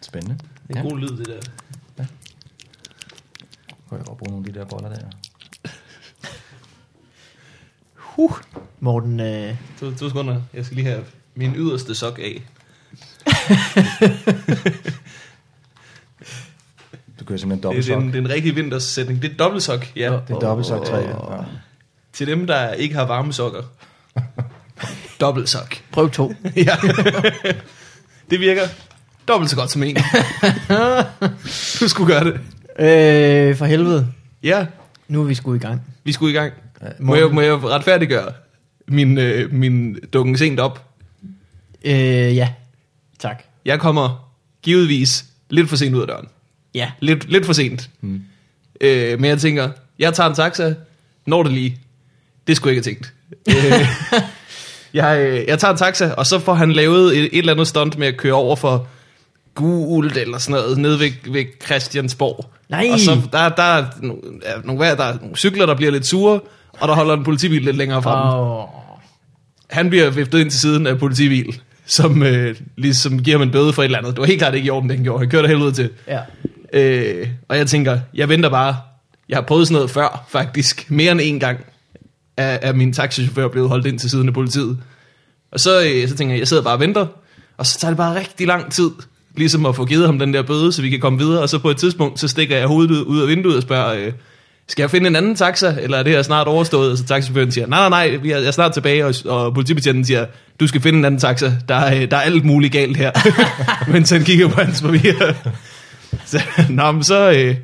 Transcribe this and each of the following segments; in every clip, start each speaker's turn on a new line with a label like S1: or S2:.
S1: Spændende.
S2: Det er
S1: Ja.
S2: en god lyd, det der.
S1: Kunne jeg godt bruge nogle af de der boller der.
S3: Huh. Morten, øh,
S2: To, to sekunder. Jeg skal lige have min yderste sok af.
S1: Du kører simpelthen dobbelt
S2: Det, det, er
S1: sok.
S2: en, det er en rigtig vintersætning. Det er dobbeltsok, ja.
S1: Det er dobbelt sok træ. Ja.
S2: Til dem, der ikke har varme sokker. Dobbeltsok.
S3: prøv to.
S2: ja. det virker dobbelt så godt som en. du skulle gøre det.
S3: Øh, for helvede.
S2: Ja,
S3: Nu er vi sgu i gang.
S2: vi skulle i gang. Må jeg, må jeg retfærdiggøre min, øh, min dukken sent op?
S3: Øh, ja. Tak.
S2: Jeg kommer givetvis lidt for sent ud af døren.
S3: Ja.
S2: Lidt, lidt for sent.
S1: Mm.
S2: Øh, men jeg tænker, jeg tager en taxa, når det lige. Det skulle jeg ikke have tænkt. Øh, jeg, øh, jeg tager en taxa, og så får han lavet et, et eller andet stunt med at køre over for gult eller sådan noget, nede ved, ved Christiansborg.
S3: Nej.
S2: Og så der, der, er nogle, er nogle, der er nogle cykler, der bliver lidt sure, og der holder en politibil lidt længere frem.
S3: Og,
S2: Han bliver viftet ind til siden af en politibil, som øh, ligesom giver ham en bøde for et eller andet. Det var helt klart ikke i orden, den gjorde. Han kørte helvede til.
S3: ja.
S2: Øh, og jeg tænker, jeg venter bare. Jeg har prøvet sådan noget før, faktisk. Mere end en gang er, er min taxichauffør blevet holdt ind til siden af politiet. Og så, øh, så tænker jeg, jeg sidder bare og venter. Og så tager det bare rigtig lang tid, ligesom at få givet ham den der bøde, så vi kan komme videre. Og så på et tidspunkt, så stikker jeg hovedet ud- ud af vinduet og spørger, øh, skal jeg finde en anden taxa, eller er det her snart overstået? Og så taxichaufføren siger, nej, nej, nej, vi er- jeg er snart tilbage. Og, og politibetjenten siger, du skal finde en anden taxa, der er, øh, der er alt muligt galt her. Mens han kigger på hans papir. Så, nå, men så øh,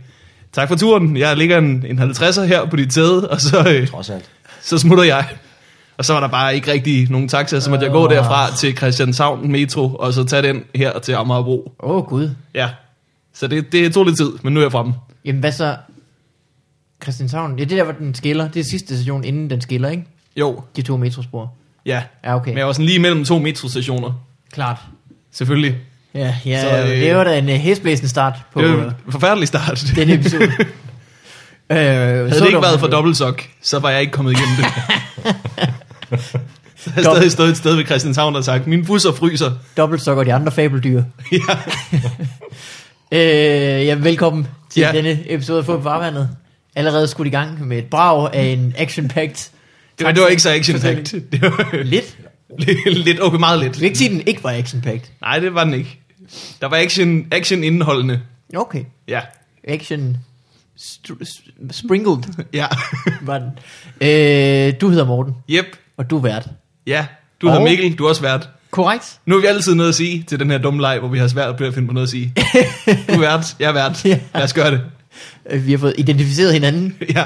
S2: tak for turen. Jeg ligger en, en 50'er her på dit tæde, og så, øh,
S1: Trods alt.
S2: så smutter jeg. Og så var der bare ikke rigtig nogen taxa, så måtte jeg gå derfra til Christianshavn Metro, og så tage den her til Amagerbro.
S3: Åh, oh, Gud.
S2: Ja, så det, det tog lidt tid, men nu er jeg fremme.
S3: Jamen, hvad så? Christianshavn. Ja, det der, hvor den skiller. Det er sidste station, inden den skiller, ikke?
S2: Jo,
S3: De to metrospor.
S2: ja.
S3: Ja, okay.
S2: Men jeg var sådan lige mellem to metrostationer,
S3: Klart.
S2: selvfølgelig.
S3: Ja, ja
S2: Så,
S3: så,
S2: øh,
S3: øh, det var da en uh, hæsblæsende start på
S2: Det
S3: øh,
S2: var en forfærdelig start.
S3: den episode. øh,
S2: Havde det ikke været for dobbeltsok, så var jeg ikke kommet igennem det. så havde jeg
S3: Dobbelt-
S2: stadig stået et sted ved Christianshavn og sagt, min busser fryser.
S3: Dobbeltstok og de andre fabeldyr.
S2: ja.
S3: Øh, jamen, velkommen til
S2: Ja.
S3: ja. denne episode af Få på Farvandet. Allerede skudt i gang med et brag af en action-packed.
S2: Det var, det var ikke så action packed Det var
S3: Lidt.
S2: lidt, lidt, okay, meget
S3: Du
S2: lidt.
S3: kan ikke sige, at den ikke var action-packed.
S2: Nej, det var den ikke. Der var action, action indeholdende.
S3: Okay.
S2: Ja,
S3: Action str- s- sprinkled
S2: ja.
S3: var den. Øh, du hedder Morten,
S2: Jep,
S3: og du er vært.
S2: ja. Du hedder
S3: Og-
S2: Mikkel, du er også vært.
S3: Korrekt?
S2: Nu har vi altid noget at sige til den her dumme leg, hvor vi har svært ved at finde på noget at sige. Du er vært, jeg er vært.
S3: Ja.
S2: Lad os gøre det.
S3: Øh, Vi har fået identificeret hinanden.
S2: Ja.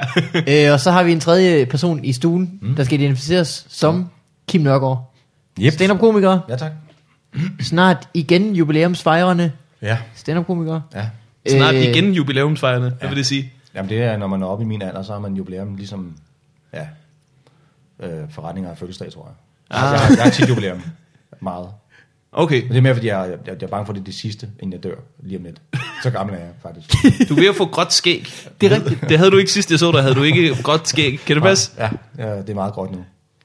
S3: øh, og så har vi en tredje person i stuen, mm. der skal identificeres som Kim Nørgaard.
S1: Yep.
S3: Stand-up-komiker,
S1: Ja, tak.
S3: snart igen jubilæumsfejrende
S1: Ja.
S3: stand-up-komiker.
S1: ja.
S2: Snart
S3: Øh,
S2: igen jubilæumsfejrene, hvad
S1: ja.
S2: vil det sige?
S1: Jamen det er, når man er oppe i min alder, så har man jubilæum ligesom, ja, øh, forretninger og fødselsdag, tror jeg. Ah. Jeg, har- jeg har tit jubilæum. Meget.
S2: Okay,
S1: Men det er mere, fordi jeg, jeg, jeg er bange for, at det er det sidste, inden jeg dør lige om lidt. Så gammel er jeg faktisk.
S2: du er ved at få gråt skæg. Det er rigtigt. Det havde du ikke sidst, jeg så dig, havde du ikke gråt skæg. Kan det passe?
S1: Ja, ja, det er meget godt nu.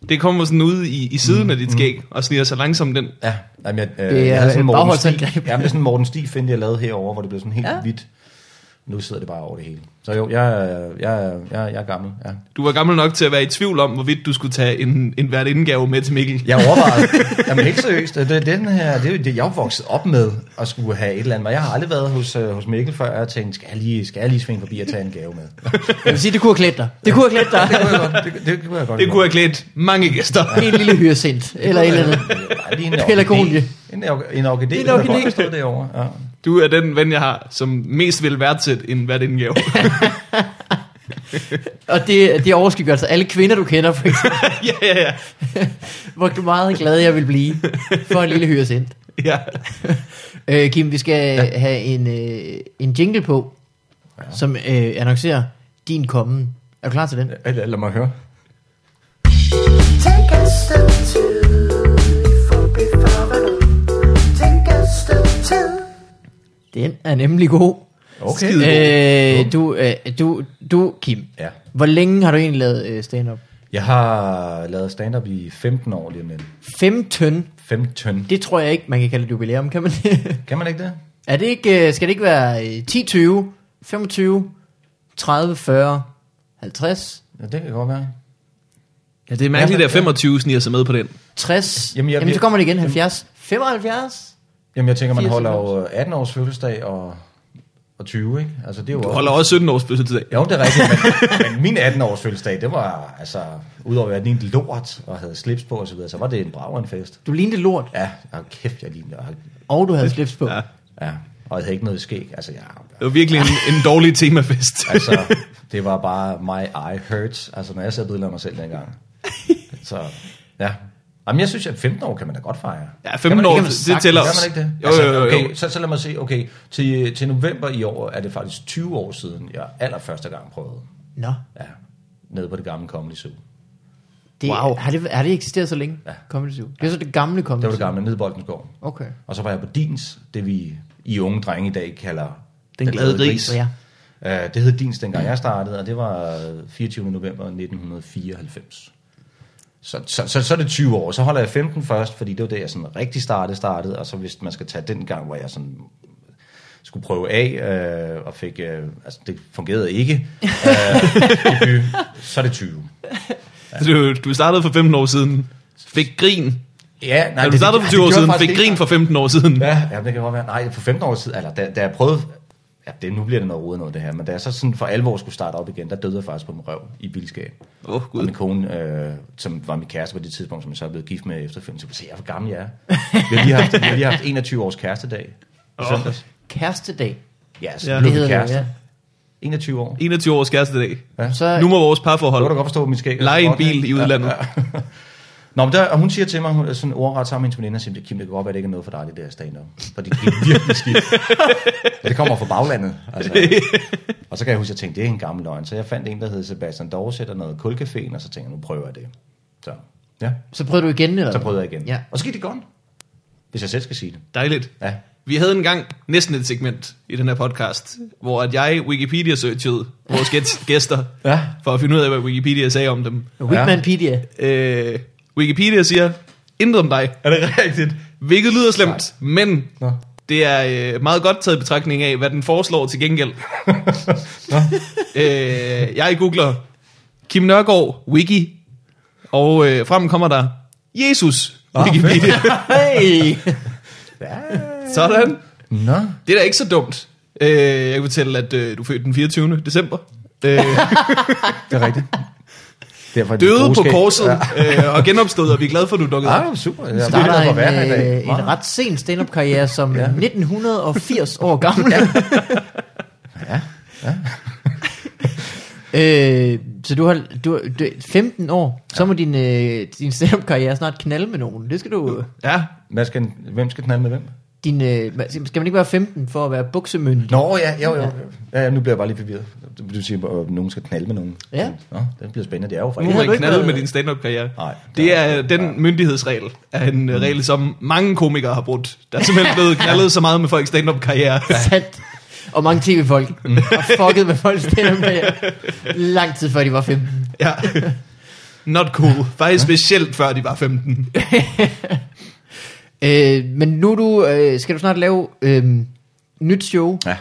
S2: Det kommer sådan ud i, i siden af dit skæg og sniger sig langsomt den.
S1: Ja, jamen, jeg, øh,
S3: Det er
S1: jeg havde sådan
S3: et
S1: Morten
S3: bagholdsangreb.
S1: Stig, jamen, det er sådan en Morten Stig find, jeg lavede herover, hvor det blev sådan helt
S3: Ja.
S1: ja. hvidt. Nu sidder det bare over det hele. Så jo, jeg, er- jeg, er- jeg, er- jeg er gammel. Ja.
S2: Du var gammel nok til at være i tvivl om, hvorvidt du skulle tage en, en hvert indgave med til Mikkel.
S1: Jeg overvejede, jamen helt seriøst, det, er den her, det er jo det, jeg er vokset op med at skulle have et eller andet. Og jeg har aldrig været hos, øh, hos Mikkel før, og jeg tænkte, skal jeg lige, skal jeg lige svinge forbi og tage en gave med?
S3: Jeg vil sige, det kunne have klædt dig. Det kunne have klædt dig.
S1: Det kunne jeg godt. Det, det kunne jeg godt.
S2: Det kunne have klædt mange gæster.
S3: en lille hyresint, eller et eller andet.
S1: Bare lige en
S3: Pelargonie.
S1: orkidé. En, or- en orkidé.
S3: En
S1: En orkidé.
S3: orkidé.
S1: Den stod derovre. Ja.
S2: Du er den ven, jeg har, som mest vil værdsætte en hvert indgave.
S3: Og det, det overskygger altså alle kvinder, du kender, for eksempel,
S2: ja, ja, ja.
S3: hvor du meget glad jeg vil blive for en lille hyresint.
S2: ja.
S3: Øh, Kim, vi skal ja. have en, øh, en jingle på, ja. som øh, annoncerer din kommen. Er du klar til den? Ja.
S1: Lad, lad mig høre.
S4: Take a step two before before Take a step two.
S3: Den er nemlig god.
S1: Okay.
S3: Øh, du, øh, du, du, Kim,
S1: Ja.
S3: hvor længe har du egentlig lavet øh, stand-up?
S1: Jeg har lavet stand-up i 15 år lige om lidt.
S3: 15.
S1: 15.
S3: Det tror jeg ikke, man kan kalde det jubilæum, kan man?
S1: Kan man ikke det?
S3: Er det ikke, øh, skal det ikke være øh, 10, 20, 25, 30, 40, 50,
S1: Ja, det kan godt være.
S2: Ja, det er mærkeligt,
S1: Ja,
S2: at 25 sniger sig med på den.
S3: 60?
S1: Jamen,
S3: Jamen,
S1: jeg-
S3: jeg, jamen så kommer det igen, 70, 75?
S1: Jamen, jeg tænker, man
S3: 80.
S1: holder jo 18 års fødselsdag og, og 20, ikke? Altså, det er jo
S2: Du
S1: også-
S2: holder også 17 års fødselsdag.
S1: Jo, det er rigtigt, men, men min 18-års fødselsdag, det var, altså, udover at jeg lignede lort og havde slips på og så videre, så var det en brav fest.
S3: Du lignede lort,
S1: Ja, og kæft, jeg lignede, og,
S3: og du havde slips på.
S2: Ja.
S3: Ja.
S1: ja, og jeg havde ikke noget skæg, altså, jeg,
S2: Det var virkelig en, en dårlig temafest.
S1: altså, det var bare my eye hurts, altså, når jeg sad billeder af mig selv dengang. Så, ja. Jamen, jeg synes, at 15 år kan man da godt fejre.
S2: Ja,
S1: Kan
S2: 15
S1: man-
S2: år,
S3: kan man
S2: det
S3: sagtens.
S2: tæller
S1: Gør
S2: også.
S1: man ikke det? Altså,
S2: Jo, jo, jo.
S1: okay,
S2: jo.
S1: Så, så lad mig se, okay, til, til november i år er det faktisk 20 år siden, jeg allerførste gang prøvede.
S3: Nå,
S1: Ja, nede på det gamle Comedy Zoo.
S3: det,
S2: Wow.
S3: wow. har, det, har det eksisteret så længe?
S1: Ja.
S3: Ja. Comedy Zoo. Det er så det gamle Comedy
S1: Det var det
S3: Zoo.
S1: gamle, nede i Boldenskov.
S3: Okay.
S1: Og så var jeg på Dins, det vi i unge drenge i dag kalder...
S2: Den glade gris.
S3: Ja.
S1: Øh, Det hed Dins, dengang jeg startede, og det var øh, 24. november 1994. Så, så, så, så er det 20 år. Så holder jeg 15 først, fordi det var det, jeg sådan rigtig startede, startede. Og så hvis man skal tage den gang, hvor jeg sådan skulle prøve af, øh, og fik, øh, altså det fungerede ikke, øh, debut, så er det 20.
S2: Du, du startede for 15 år siden, fik grin.
S1: Ja,
S2: Nej, du startede for 20 år
S1: gjorde
S2: siden,
S1: faktisk
S2: fik
S1: ikke-
S2: grin for 15 år siden.
S1: Ja, ja, det kan godt være. Nej, for 15 år siden, eller da, da jeg prøvede, ja, det, nu bliver det noget rodet noget det her, men da jeg så sådan for alvor skulle starte op igen, der døde jeg faktisk på min røv i bilskab.
S2: Åh, oh,
S1: Og
S2: gud.
S1: min kone, øh, som var min kæreste på det tidspunkt, som jeg så er blevet gift med efterfølgende, så kunne se, jeg, hvor gammel jeg er. Vi har lige haft, vi har lige haft 21 års kærestedag i søndags.
S3: Kærestedag.
S1: Ja, så
S2: Ja.
S1: ja,
S2: Det
S1: blev vi
S3: hedder det,
S1: kærester.
S3: ja.
S1: 21 år.
S2: 21 års kæreste i dag.
S3: Så,
S2: Nu må vores
S1: Du kan da
S2: parforhold
S1: godt forstå, at min skæg. er
S2: lege
S1: så
S2: en
S1: godt,
S2: bil
S1: ikke?
S2: i udlandet.
S1: Nå, men der, og hun siger til mig, hun er sådan ordret sammen med hendes veninder, og siger, Kim, det kan godt være, det ikke er noget for dig, det der stand-up. For det er virkelig skidt. Og det kommer fra baglandet. Altså. Og så kan jeg huske, at jeg tænkte, det er en gammel løgn. Så jeg fandt en, der hed Sebastian Dorset og noget kulcaféen, og så tænkte jeg, nu prøver jeg det. Så, ja,
S3: så prøver du igen, eller?
S1: så prøvede jeg igen.
S3: Ja.
S1: Og så gik det godt. Hvis jeg selv skal sige det.
S2: Dejligt.
S1: Ja.
S2: Vi havde engang næsten et segment i den her podcast, hvor at jeg Wikipedia-searchede vores gæt- gæster,
S1: Ja.
S2: for at finde ud af, hvad Wikipedia sagde om dem.
S3: Whitmanpedia.
S2: Øh, Wikipedia siger, intet om dig.
S1: Er det rigtigt?
S2: Hvilket lyder slemt, men
S1: Nå.
S2: det er øh, meget godt taget i betragtning af, hvad den foreslår til gengæld. øh, jeg googler Kim Nørgaard Wiki, og øh, frem kommer der Jesus
S3: Ah,
S2: Wikipedia.
S3: Hey!
S1: Ja.
S2: Sådan.
S1: Nå.
S2: Det er da ikke så dumt. Øh, jeg kan fortælle, at øh, du fødte den 24. december. Øh,
S1: Det er rigtigt. Derfor er det
S2: døde
S1: gode
S2: på
S1: skæg.
S2: korset øh, og genopstod, og vi er glade for, at du dukkede op.
S1: Ah, super. Jeg
S3: starter
S1: starter
S3: en,
S1: på verden i dag.
S3: øh, en ret sen stand-up karriere som 1980 år gammel. ja. ja. øh, så du har, du, du 15 år, så må din, øh, din stand-up karriere snart knalde med nogen. Det skal du...
S2: Ja,
S1: Hvad skal, hvem skal knalde med hvem?
S3: Din, øh, man- skal man ikke være 15 for at være buksemyndig?
S1: Nå ja, jo, jo. Ja, ja, nu bliver jeg bare lidt forvirret. Du siger, at nogen skal knalde med nogen.
S3: Ja.
S1: Nå, det bliver spændende. Det er jo
S2: Nu
S1: faktisk.
S2: må
S3: havde
S2: man
S3: du ikke
S2: knalde
S3: været-
S2: med din stand-up-karriere.
S1: Nej.
S2: Det er øh, den myndighedsregel, er en øh, regel, som mange komikere har brudt. Der er simpelthen blevet knaldet så meget med folks stand-up-karriere.
S3: Sandt. Og mange tv-folk har fucket med folks stand-up karriere lang tid før de var 15.
S2: ja. Not cool. Faktisk specielt før de var 15.
S3: Øh, men nu er du, øh, skal du snart lave øh, nyt show.
S1: Ja.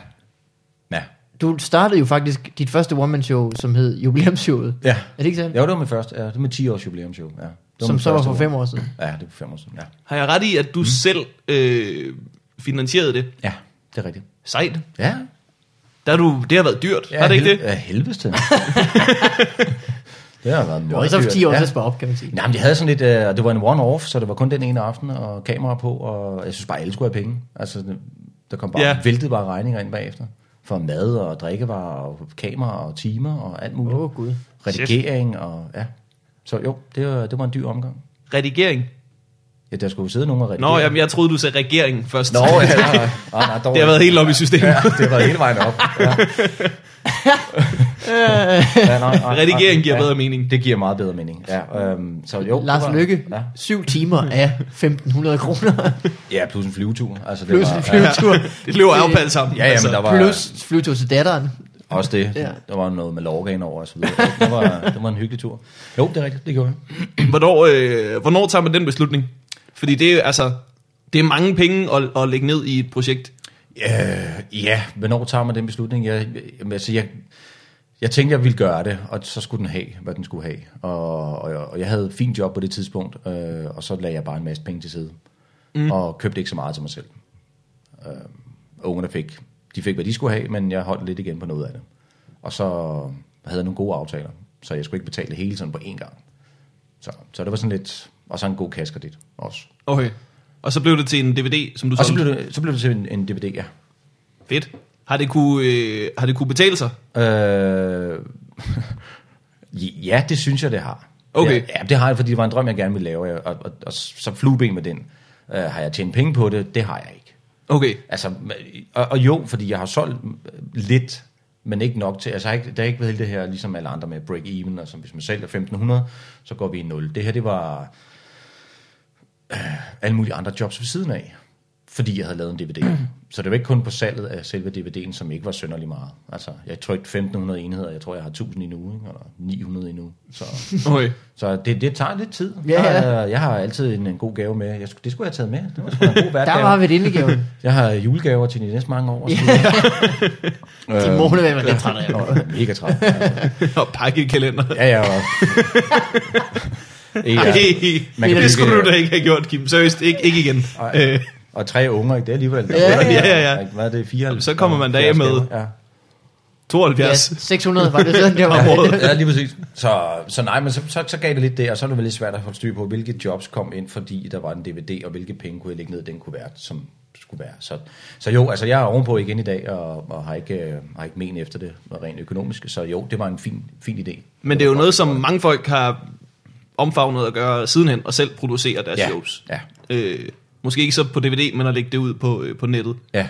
S1: Ja.
S3: Du startede jo faktisk dit første one-man-show, som hed Jubilæumsshowet.
S1: Ja.
S3: Er det ikke sandt?
S1: Jo, det var mit første. Ja, det var mit 10 års jubilæumsshow. Ja. Det var
S3: Som
S1: mit
S3: så var
S1: første
S3: for
S1: år.
S3: fem år siden.
S1: Ja, det var for fem år siden. Ja.
S2: Har jeg ret i, at du mm. selv øh, finansierede det?
S1: ja, det er rigtigt.
S2: Sejt.
S1: Ja.
S2: Der er du, det har været dyrt,
S1: ja
S2: har det ikke
S1: hel-
S2: det?
S1: Ja, helveste. det har været
S3: Og
S1: meget
S3: så for
S1: dyrt.
S3: 10 år,
S1: Ja.
S3: så spare op, kan man sige.
S1: Nej, men de havde sådan lidt, øh, og det var en one-off, så det var kun den ene aften, og kamera på, og jeg synes bare, alle skulle have penge. Altså, der kom bare,
S2: Ja.
S1: ja. væltede bare regninger ind bagefter. For mad og drikkevarer og kamera og timer og alt muligt.
S3: Åh, oh, Gud.
S1: Redigering og, ja. Så jo, det var, det var en dyr omgang.
S2: Redigering.
S1: Ja, der skulle jo sidde nogen og redigere.
S2: Nå, jamen, jeg troede, du sagde regeringen først.
S1: Nå, ja, nej, nej, nej, nej,
S2: Det har været helt op i systemet.
S1: Ja, det har været hele vejen op. Ja. ja, nej, nej,
S2: Redigering giver bedre mening.
S1: Det giver meget bedre mening. Ja, øhm, så jo, det var-
S3: Lars Lykke,
S1: Ja,
S3: 7 timer af 1.500 kroner,
S1: ja plus en flyvetur. Altså, det
S3: plus
S1: var,
S3: en
S1: ja.
S3: flyvetur, Altså, Øh,
S2: Det løber afpaldet sammen. altså.
S1: Ja, jamen, der var
S3: plus flyvetur til datteren.
S1: også det.
S3: Ja.
S1: Der var noget med Lorca indover og så videre. Det var, det var en hyggelig tur. Jo, det er rigtigt, det gjorde jeg.
S2: Hvornår, øh, hvornår tager man den beslutning? Fordi det er altså, det er mange penge at, at lægge ned i et projekt.
S1: Øh, ja, hvornår tager man den beslutning? Jeg, jeg, altså, jeg, jeg tænkte, jeg ville gøre det, og så skulle den have, hvad den skulle have. Og, og, jeg, og jeg havde et fint job på det tidspunkt, øh, og så lagde jeg bare en masse penge til side. Mm. Og købte ikke så meget til mig selv. Øh, ungerne fik, de fik, hvad de skulle have, men jeg holdt lidt igen på noget af det. Og så havde jeg nogle gode aftaler, så jeg skulle ikke betale det hele sådan på én gang. Så, så det var sådan lidt, og så en god kaskredit også.
S2: Okay. Og så blev det til en DVD, som du
S1: Og så blev
S2: solgte.
S1: det, så blev det til en, en DVD, ja.
S2: Fedt. Har det, kunne, øh, har det kunne betale sig?
S1: Øh, ja, det synes jeg, det har.
S2: Okay.
S1: Ja, ja, det har jeg, fordi det var en drøm, jeg gerne ville lave, og, og, og, og så flueben med den. Øh, har jeg tjent penge på det? Det har jeg ikke.
S2: Okay.
S1: Altså, og, og jo, fordi jeg har solgt lidt, men ikke nok til, altså jeg har ikke, der har ikke været hele det her, ligesom alle andre med break-even, og som hvis man sælger 1500, så går vi i nul. Det her, det var øh, alle mulige andre jobs ved siden af, fordi jeg havde lavet en DVD. så det var ikke kun på salget af selve DVD'en, som ikke var synderlig meget. Altså, jeg trykte 1500 enheder, jeg tror, jeg har 1000 endnu, ikke? eller 900 endnu. Så,
S2: Okay.
S1: så det, det tager lidt tid. øh,
S3: Ja, ja.
S1: Jeg, jeg har altid en, en god gave med. Jeg, skulle- det skulle jeg have taget med. Det var sgu da en god
S3: Der
S1: hverdag.
S3: var vi indgaven.
S1: Jeg har julegaver til de næste mange år. Ja.
S3: De må hun være lidt træt af.
S1: Jeg var Øhm, mega træt. Altså.
S2: Og pakkekalender.
S1: Ja, ja. Og...
S2: Ja.
S1: Ja. Man kan
S2: det
S1: bygge-
S2: skulle du da ikke have gjort, Kim. Seriøst, ikke, ikke igen.
S1: Ej.
S2: Øh,
S1: Og tre unger, ikke? Det er alligevel.
S3: Ja, ja,
S2: ja.
S1: Hvad er det? Fire,
S2: Så kommer man da af med-
S1: Ja.
S2: 72.
S3: Ja, 600 var det sådan, det var.
S1: ja, lige præcis. Så, så nej, men så, så, så gav det lidt det, og så er det lidt svært at holde styr på, hvilke jobs kom ind, fordi der var en DVD, og hvilke penge kunne jeg lægge ned, den kunne være, som skulle være. Så, så jo, altså jeg er ovenpå igen i dag, og, og har ikke, øh, har ikke men efter det rent økonomisk, så jo, det var en fin, fin idé.
S2: Men det er jo noget, som mange folk har omfavnet at gøre sidenhen, og selv producere deres
S1: Ja,
S2: shows.
S1: ja.
S2: Øh, måske ikke så på DVD, men at lægge det ud på, øh, på nettet.
S1: Ja.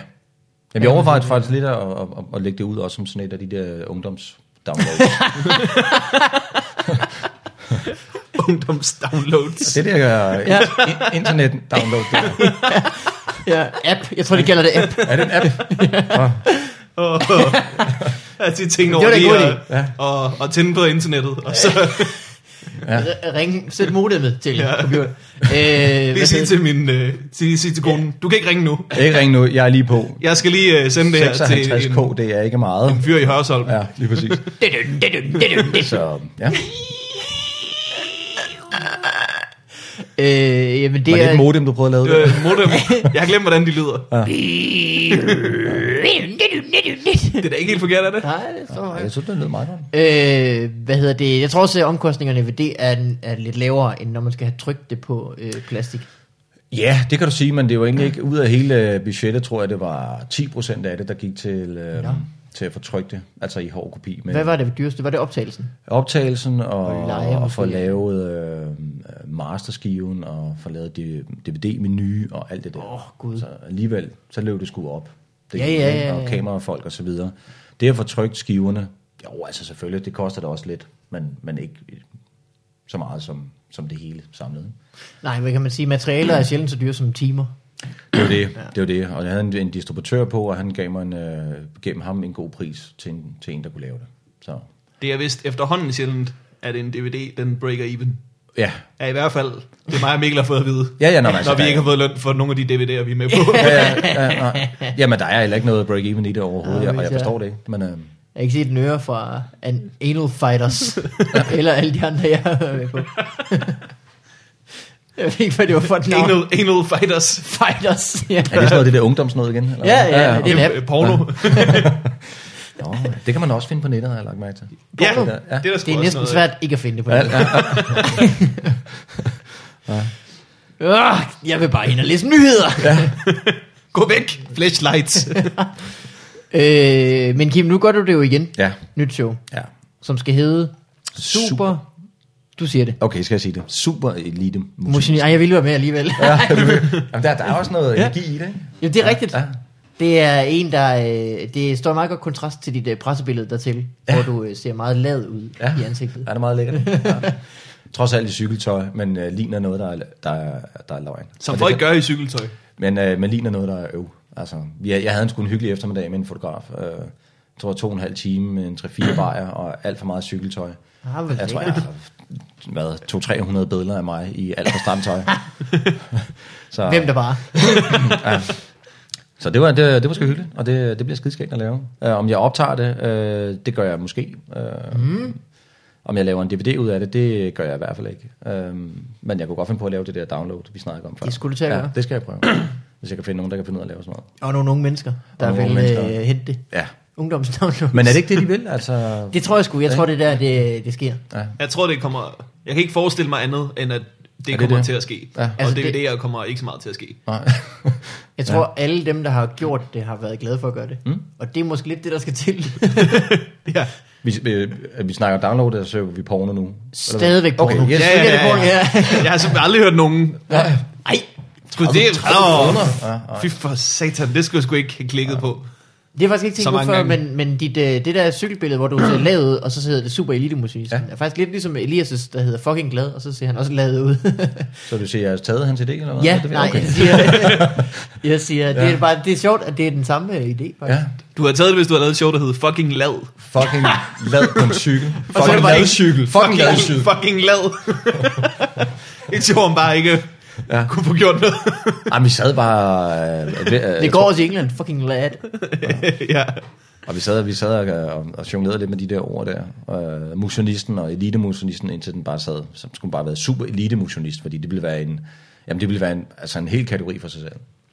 S1: Jamen, jeg overvejede faktisk lidt at, at, at, at lægge det ud også som sådan et af de der ungdoms downloads.
S2: Ungdomsdownloads.
S1: det der uh, ja. internet download. Der.
S3: Ja, app. Jeg tror, de kalder det app.
S1: Er det en app?
S2: Og, at de tænkte
S3: Det
S2: over
S3: var da en
S2: lige
S3: god
S2: at,
S3: idé.
S1: Ja.
S2: og, og tænde på internettet. Og så
S3: R- Ring, sæt modemet til computeren. Øh,
S2: lige
S3: hvad
S2: sige
S3: hedder-
S2: til, min, øh, sige, sige til konen, du kan ikke ringe nu.
S1: Ikke ring nu, jeg er lige på.
S2: Jeg skal lige øh, sende det her til en,
S1: 56k, det er ikke meget.
S2: en fyr i Hørsholm.
S1: Ja, lige præcis.
S3: Didun, didun, didun, didun.
S1: Så ja,
S3: Øh, jamen
S1: var
S3: det
S1: det
S3: er...
S1: et modem, du prøvede at lave?
S2: Øh,
S1: Øh.
S2: modem. Jeg har glemt, hvordan de lyder. Det er da ikke helt forkert, er det?
S3: Nej, det tror jeg
S1: Jeg synes, det lød meget godt.
S3: ikke. øh, hvad hedder det? Jeg tror også, at omkostningerne ved det er, er lidt lavere, end når man skal have trykt det på øh, plastik.
S1: Ja, det kan du sige, men det var egentlig ikke ud af hele øh, budgettet, tror jeg, det var 10% af det, der gik til, øh, til at få trykt det, altså i hård kopi. Men,
S3: Hvad var det dyreste? Var det optagelsen?
S1: optagelsen og,
S3: Og lege
S1: og få
S3: måske.
S1: lavet øh, øh, masterskiven og få lavet det- DVD-menu og alt det der.
S3: Åh, Gud.
S1: Så alligevel, så løb det sgu op. Det,
S3: Ja, ja, ja, ja.
S1: Og kamerafolk og så videre. Det at få trykt skiverne, jo altså selvfølgelig, det koster da også lidt, men, men ikke så meget som, som det hele samlet. ikke?
S3: Nej, hvad kan man sige? Materialer er sjældent så dyre som timer.
S1: Det var det, det var det. Og jeg havde en, en distributør på, og han gav mig en, øh, gennem ham en god pris til en, til en, der kunne lave det. Så
S2: Det er vist efterhånden sjældent, at en DVD, den breaker even.
S1: ja,
S2: Ja, i hvert fald, det er mig og Mikkel har fået at vide.
S1: Ja, ja, nå, men altså,
S2: når vi
S1: der er-
S2: ikke har fået løn for nogle af de DVD'er, vi er med på.
S1: ja, ja, ja, nej. Jamen, der er heller ikke noget break-even i det overhovedet,
S3: Nej,
S1: jeg, og jeg
S3: ja.
S1: forstår det ikke. Men, øh,
S3: Jeg kan ikke se et nøre fra an Anal Fighters, eller alle de andre, jeg har været med på. jeg ved ikke, hvad det var for et navn.
S2: anal, anal fighters.
S3: Fighters. Ja.
S1: er det sådan noget, det der ungdomsnød igen? Eller
S3: Ja,
S1: hvad?
S3: ja, det er en app.
S2: Øh, Porno.
S1: Nå, det kan man også finde på nettet, har jeg lagt mærke til.
S2: Ja,
S1: Porno.
S2: ja, det er der sgu
S3: Det er
S2: også
S3: næsten
S2: noget.
S3: svært ikke at finde det på nettet. Øh, jeg vil bare ind og læse nyheder.
S2: Gå væk, flashlights.
S3: Øh, men Kim, nu gør du det jo igen.
S1: Ja,
S3: Nyt show,
S1: ja.
S3: som skal hedde Super... Super. Du siger det.
S1: Okay, skal jeg sige det? Super elite musik.
S3: Motion. Ej, jeg ville være med alligevel.
S1: Ja, du ved. Jamen, der, der er også noget energi i det, ikke?
S3: Jo, det er rigtigt.
S1: Ja.
S3: Det er en, der... Øh, det står i meget godt kontrast til dit øh, pressebillede dertil, hvor du øh, ser meget lad ud
S1: Ja.
S3: i ansigtet.
S1: Ja, det er meget lækkert. Ja. Trods alt i cykeltøj, men øh, ligner noget, der er, der er, der er løgn.
S2: Som
S1: Og det
S2: folk
S1: kan-
S2: gør i cykeltøj.
S1: Men, øh, men ligner noget, der er øv. Altså, jeg, jeg havde en sgu en hyggelig eftermiddag med en fotograf. Øh, jeg tror, to og en halv time med en 3-4 bajer og alt for meget cykeltøj.
S3: Ah, hvor
S1: jeg tror, jeg
S3: lækkert.
S1: har været 200-300 billeder af mig i alt for stramt tøj. så,
S3: Hvem der bare.
S1: Så det var, det, det var sgu hyggeligt, og det, det bliver skideskægt at lave. Uh, om jeg optager det, uh, det gør jeg måske. Uh,
S3: Mhm.
S1: mm. Om jeg laver en DVD ud af det, det gør jeg i hvert fald ikke. Uh, men jeg kunne godt finde på at lave det der download, vi snakkede om før.
S3: Det skulle du til at
S1: ja,
S3: gøre.
S1: det skal jeg prøve. Hvis jeg kan finde nogen, der kan finde ud af at lave sådan noget.
S3: Og nogle unge mennesker, der
S1: nogle
S3: vil
S1: unge mennesker.
S3: øh, hente det.
S1: Ja.
S3: Ungdomsdownloads.
S1: Men er det ikke det, de vil? Altså,
S3: Det tror jeg sgu. Jeg tror, det er der, det, det sker.
S2: Jeg tror, det kommer... Jeg kan ikke forestille mig andet, end at det,
S1: det
S2: kommer
S1: det?
S2: til at ske.
S1: Ja.
S2: Og
S3: Altså,
S2: altså,
S3: det-
S2: DVD'er kommer ikke så meget til at ske.
S1: nej.
S3: Jeg tror, ja. alle dem, der har gjort det, har været glade for at gøre det. Mm. Og det er måske lidt det, der skal til.
S2: Ja.
S1: vi, vi, vi snakker download, og så søger vi porno nu. Eller hvad?
S3: Stadigvæk porno.
S1: Okay, yes.
S2: Ja, ja, ja, ja. Jeg har simpelthen aldrig hørt nogen...
S3: Ej,
S2: Skulle det...
S1: kroner.
S2: Åh,
S1: Ja,
S2: Fy for satan, det skulle jeg sgu ikke have klikket på.
S3: det har jeg faktisk ikke
S2: Så
S3: tænkt på
S2: mange
S3: før,
S2: gange.
S3: men, men dit, øh, det der cykelbillede, hvor du ser lavet ud, og så hedder det Super Elite Musik, ja.
S1: Ja.
S3: er faktisk lidt ligesom Elias' der hedder Fucking Glad, og så ser han også lavet ud.
S1: Så du siger, jeg har taget hans idé, eller hvad?
S3: ja,
S1: det
S3: nej, jeg siger, jeg siger ja. det, er bare, det er sjovt, at det er den samme øh, idé, faktisk.
S1: Ja,
S2: Du har taget det, hvis du har lavet et show, der hedder Fucking Lad.
S1: fucking lad på en cykel.
S3: så er det
S1: Fucking
S3: bare
S1: lad
S3: en-
S1: cykel. Fucking lad cykel.
S2: Fucking lad. Et show, om bare ikke ja. kunne få gjort noget.
S1: Ej, men vi sad bare... Øh, ved, øh,
S3: Det går også i England, fucking lad.
S2: ja.
S1: Og vi sad, vi sad og, og, og jonglerede lidt med de der ord der. Øh, motionisten og elitemotionisten, indtil den bare sad. Så skulle den bare have været super elitemotionist, fordi det ville være en... Jamen, det ville være en, altså en hel kategori for sig selv.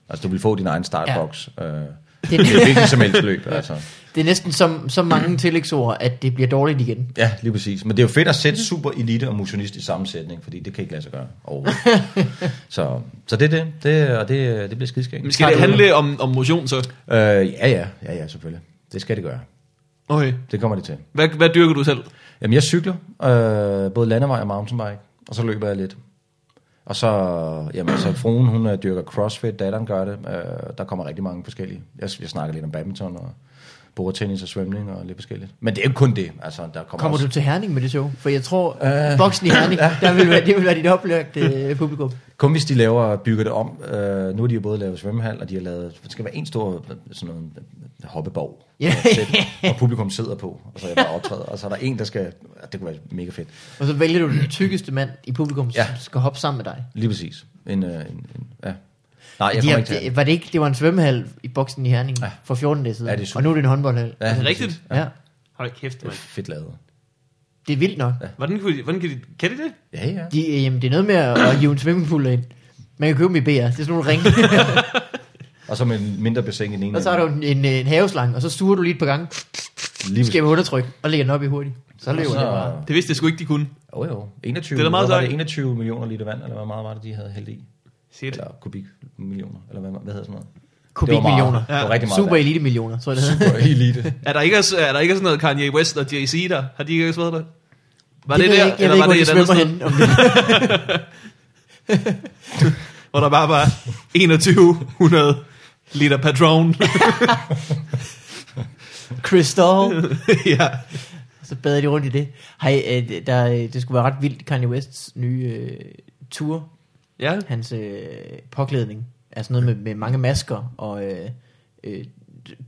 S1: Altså, du ville få din egen startbox. Ja. Øh, det er hvilket som helst løb, altså.
S3: Det er næsten så, så mange tillægsord, at det bliver dårligt igen.
S1: Ja, lige præcis. Men det er jo fedt at sætte super elite og motionist i sammensætning, fordi det kan ikke lade sig gøre overhovedet. så, så det er det, det og det, det bliver skidskægt.
S2: Men skal det handle om, om motion så?
S1: Øh, ja, ja, ja, ja, selvfølgelig. Det skal det gøre.
S2: Okay.
S1: Det kommer det til.
S2: Hvad, hvad dyrker du selv?
S1: Jamen, jeg cykler, øh, både landevej og mountainbike, og så løber jeg lidt. Og så, jamen, så fruen, hun øh, dyrker crossfit, datteren gør det. Øh, der kommer rigtig mange forskellige. Jeg, jeg snakker lidt om badminton og bordtennis og svømning og lidt forskelligt. Men det er jo ikke kun det. Altså, der kommer,
S3: Kommer
S1: også,
S3: du til Herning med det show? For jeg tror, øh, boksen i Herning, der vil være, det vil være dit oplagt øh, publikum.
S1: Kun hvis de laver bygger det om. Øh, nu har de jo både lavet svømmehal, og de har lavet... Det skal være en stor sådan noget, øh, hoppeborg.
S3: Ja.
S1: Og publikum sidder på, og så er jeg bare optræder. Og så er der en, der skal... Det kunne være mega fedt.
S3: Og så vælger du den tykkeste mand i publikum, ja.
S1: Ja.
S3: som skal hoppe sammen med dig.
S1: Lige præcis. En, øh, en, en ja. Nej, jeg
S3: De
S1: kommer
S3: har,
S1: ikke til at-
S3: det, var det ikke, det var en svømmehal i boksen i Herning ja. for 14 dage siden,
S1: Ja, det er super.
S3: og nu er det en håndboldhal.
S1: Ja,
S2: Er det
S1: lige
S2: Altså, rigtigt?
S1: præcis.
S3: Ja. ja.
S2: Hold da kæft, mand.
S1: Fedt lavet.
S3: Det er vildt nok. Ja.
S2: Hvordan, kunne de, hvordan kan de... Kan de det?
S1: Ja, ja.
S3: De, øh, jamen, det er noget med at, at hive en swimmingpool ind. Man kan købe dem i BR, det er sådan nogle ringe.
S1: Og så med en mindre bassin i den ene.
S3: og så har du en, øh, en, en haveslange, og så suger du lige et par gange,
S1: Lige
S3: skæver undertryk, og lægger den op i hurtigt. Så løber
S1: så,
S3: det bare.
S2: Det vidste jeg sgu ikke, de kunne.
S1: Jo, jo. 21,
S2: Det er da meget
S1: hvad var det
S2: sejt.
S1: 21 millioner liter vand, eller hvor meget var det, de havde hældt i?
S2: Shit.
S1: Eller kubikmillioner, eller hvad, hvad hedder sådan noget?
S3: Kubikmillioner.
S1: Ja. Det var rigtig meget
S3: Super elite millioner, tror jeg det hedder.
S1: vand. Super elite.
S2: Er der, ikke, også- er der ikke sådan noget Kanye West og Jay-Z der? Har de ikke også været der? Var det,
S3: ved
S2: der,
S3: jeg ikke, jeg ved
S2: var
S3: ikke, hvor de
S2: et andet
S3: svømmer
S2: sted,
S3: hen. Om det,
S2: hvor der bare var 2100 liter Patron?
S3: crystal.
S2: ja.
S3: Så bader de rundt i det. Hej, øh, der, øh, det skulle være ret vildt, Kanye Wests nye øh, tour.
S2: Ja.
S3: Hans øh, påklædning er sådan noget med, med mange masker og øh, øh,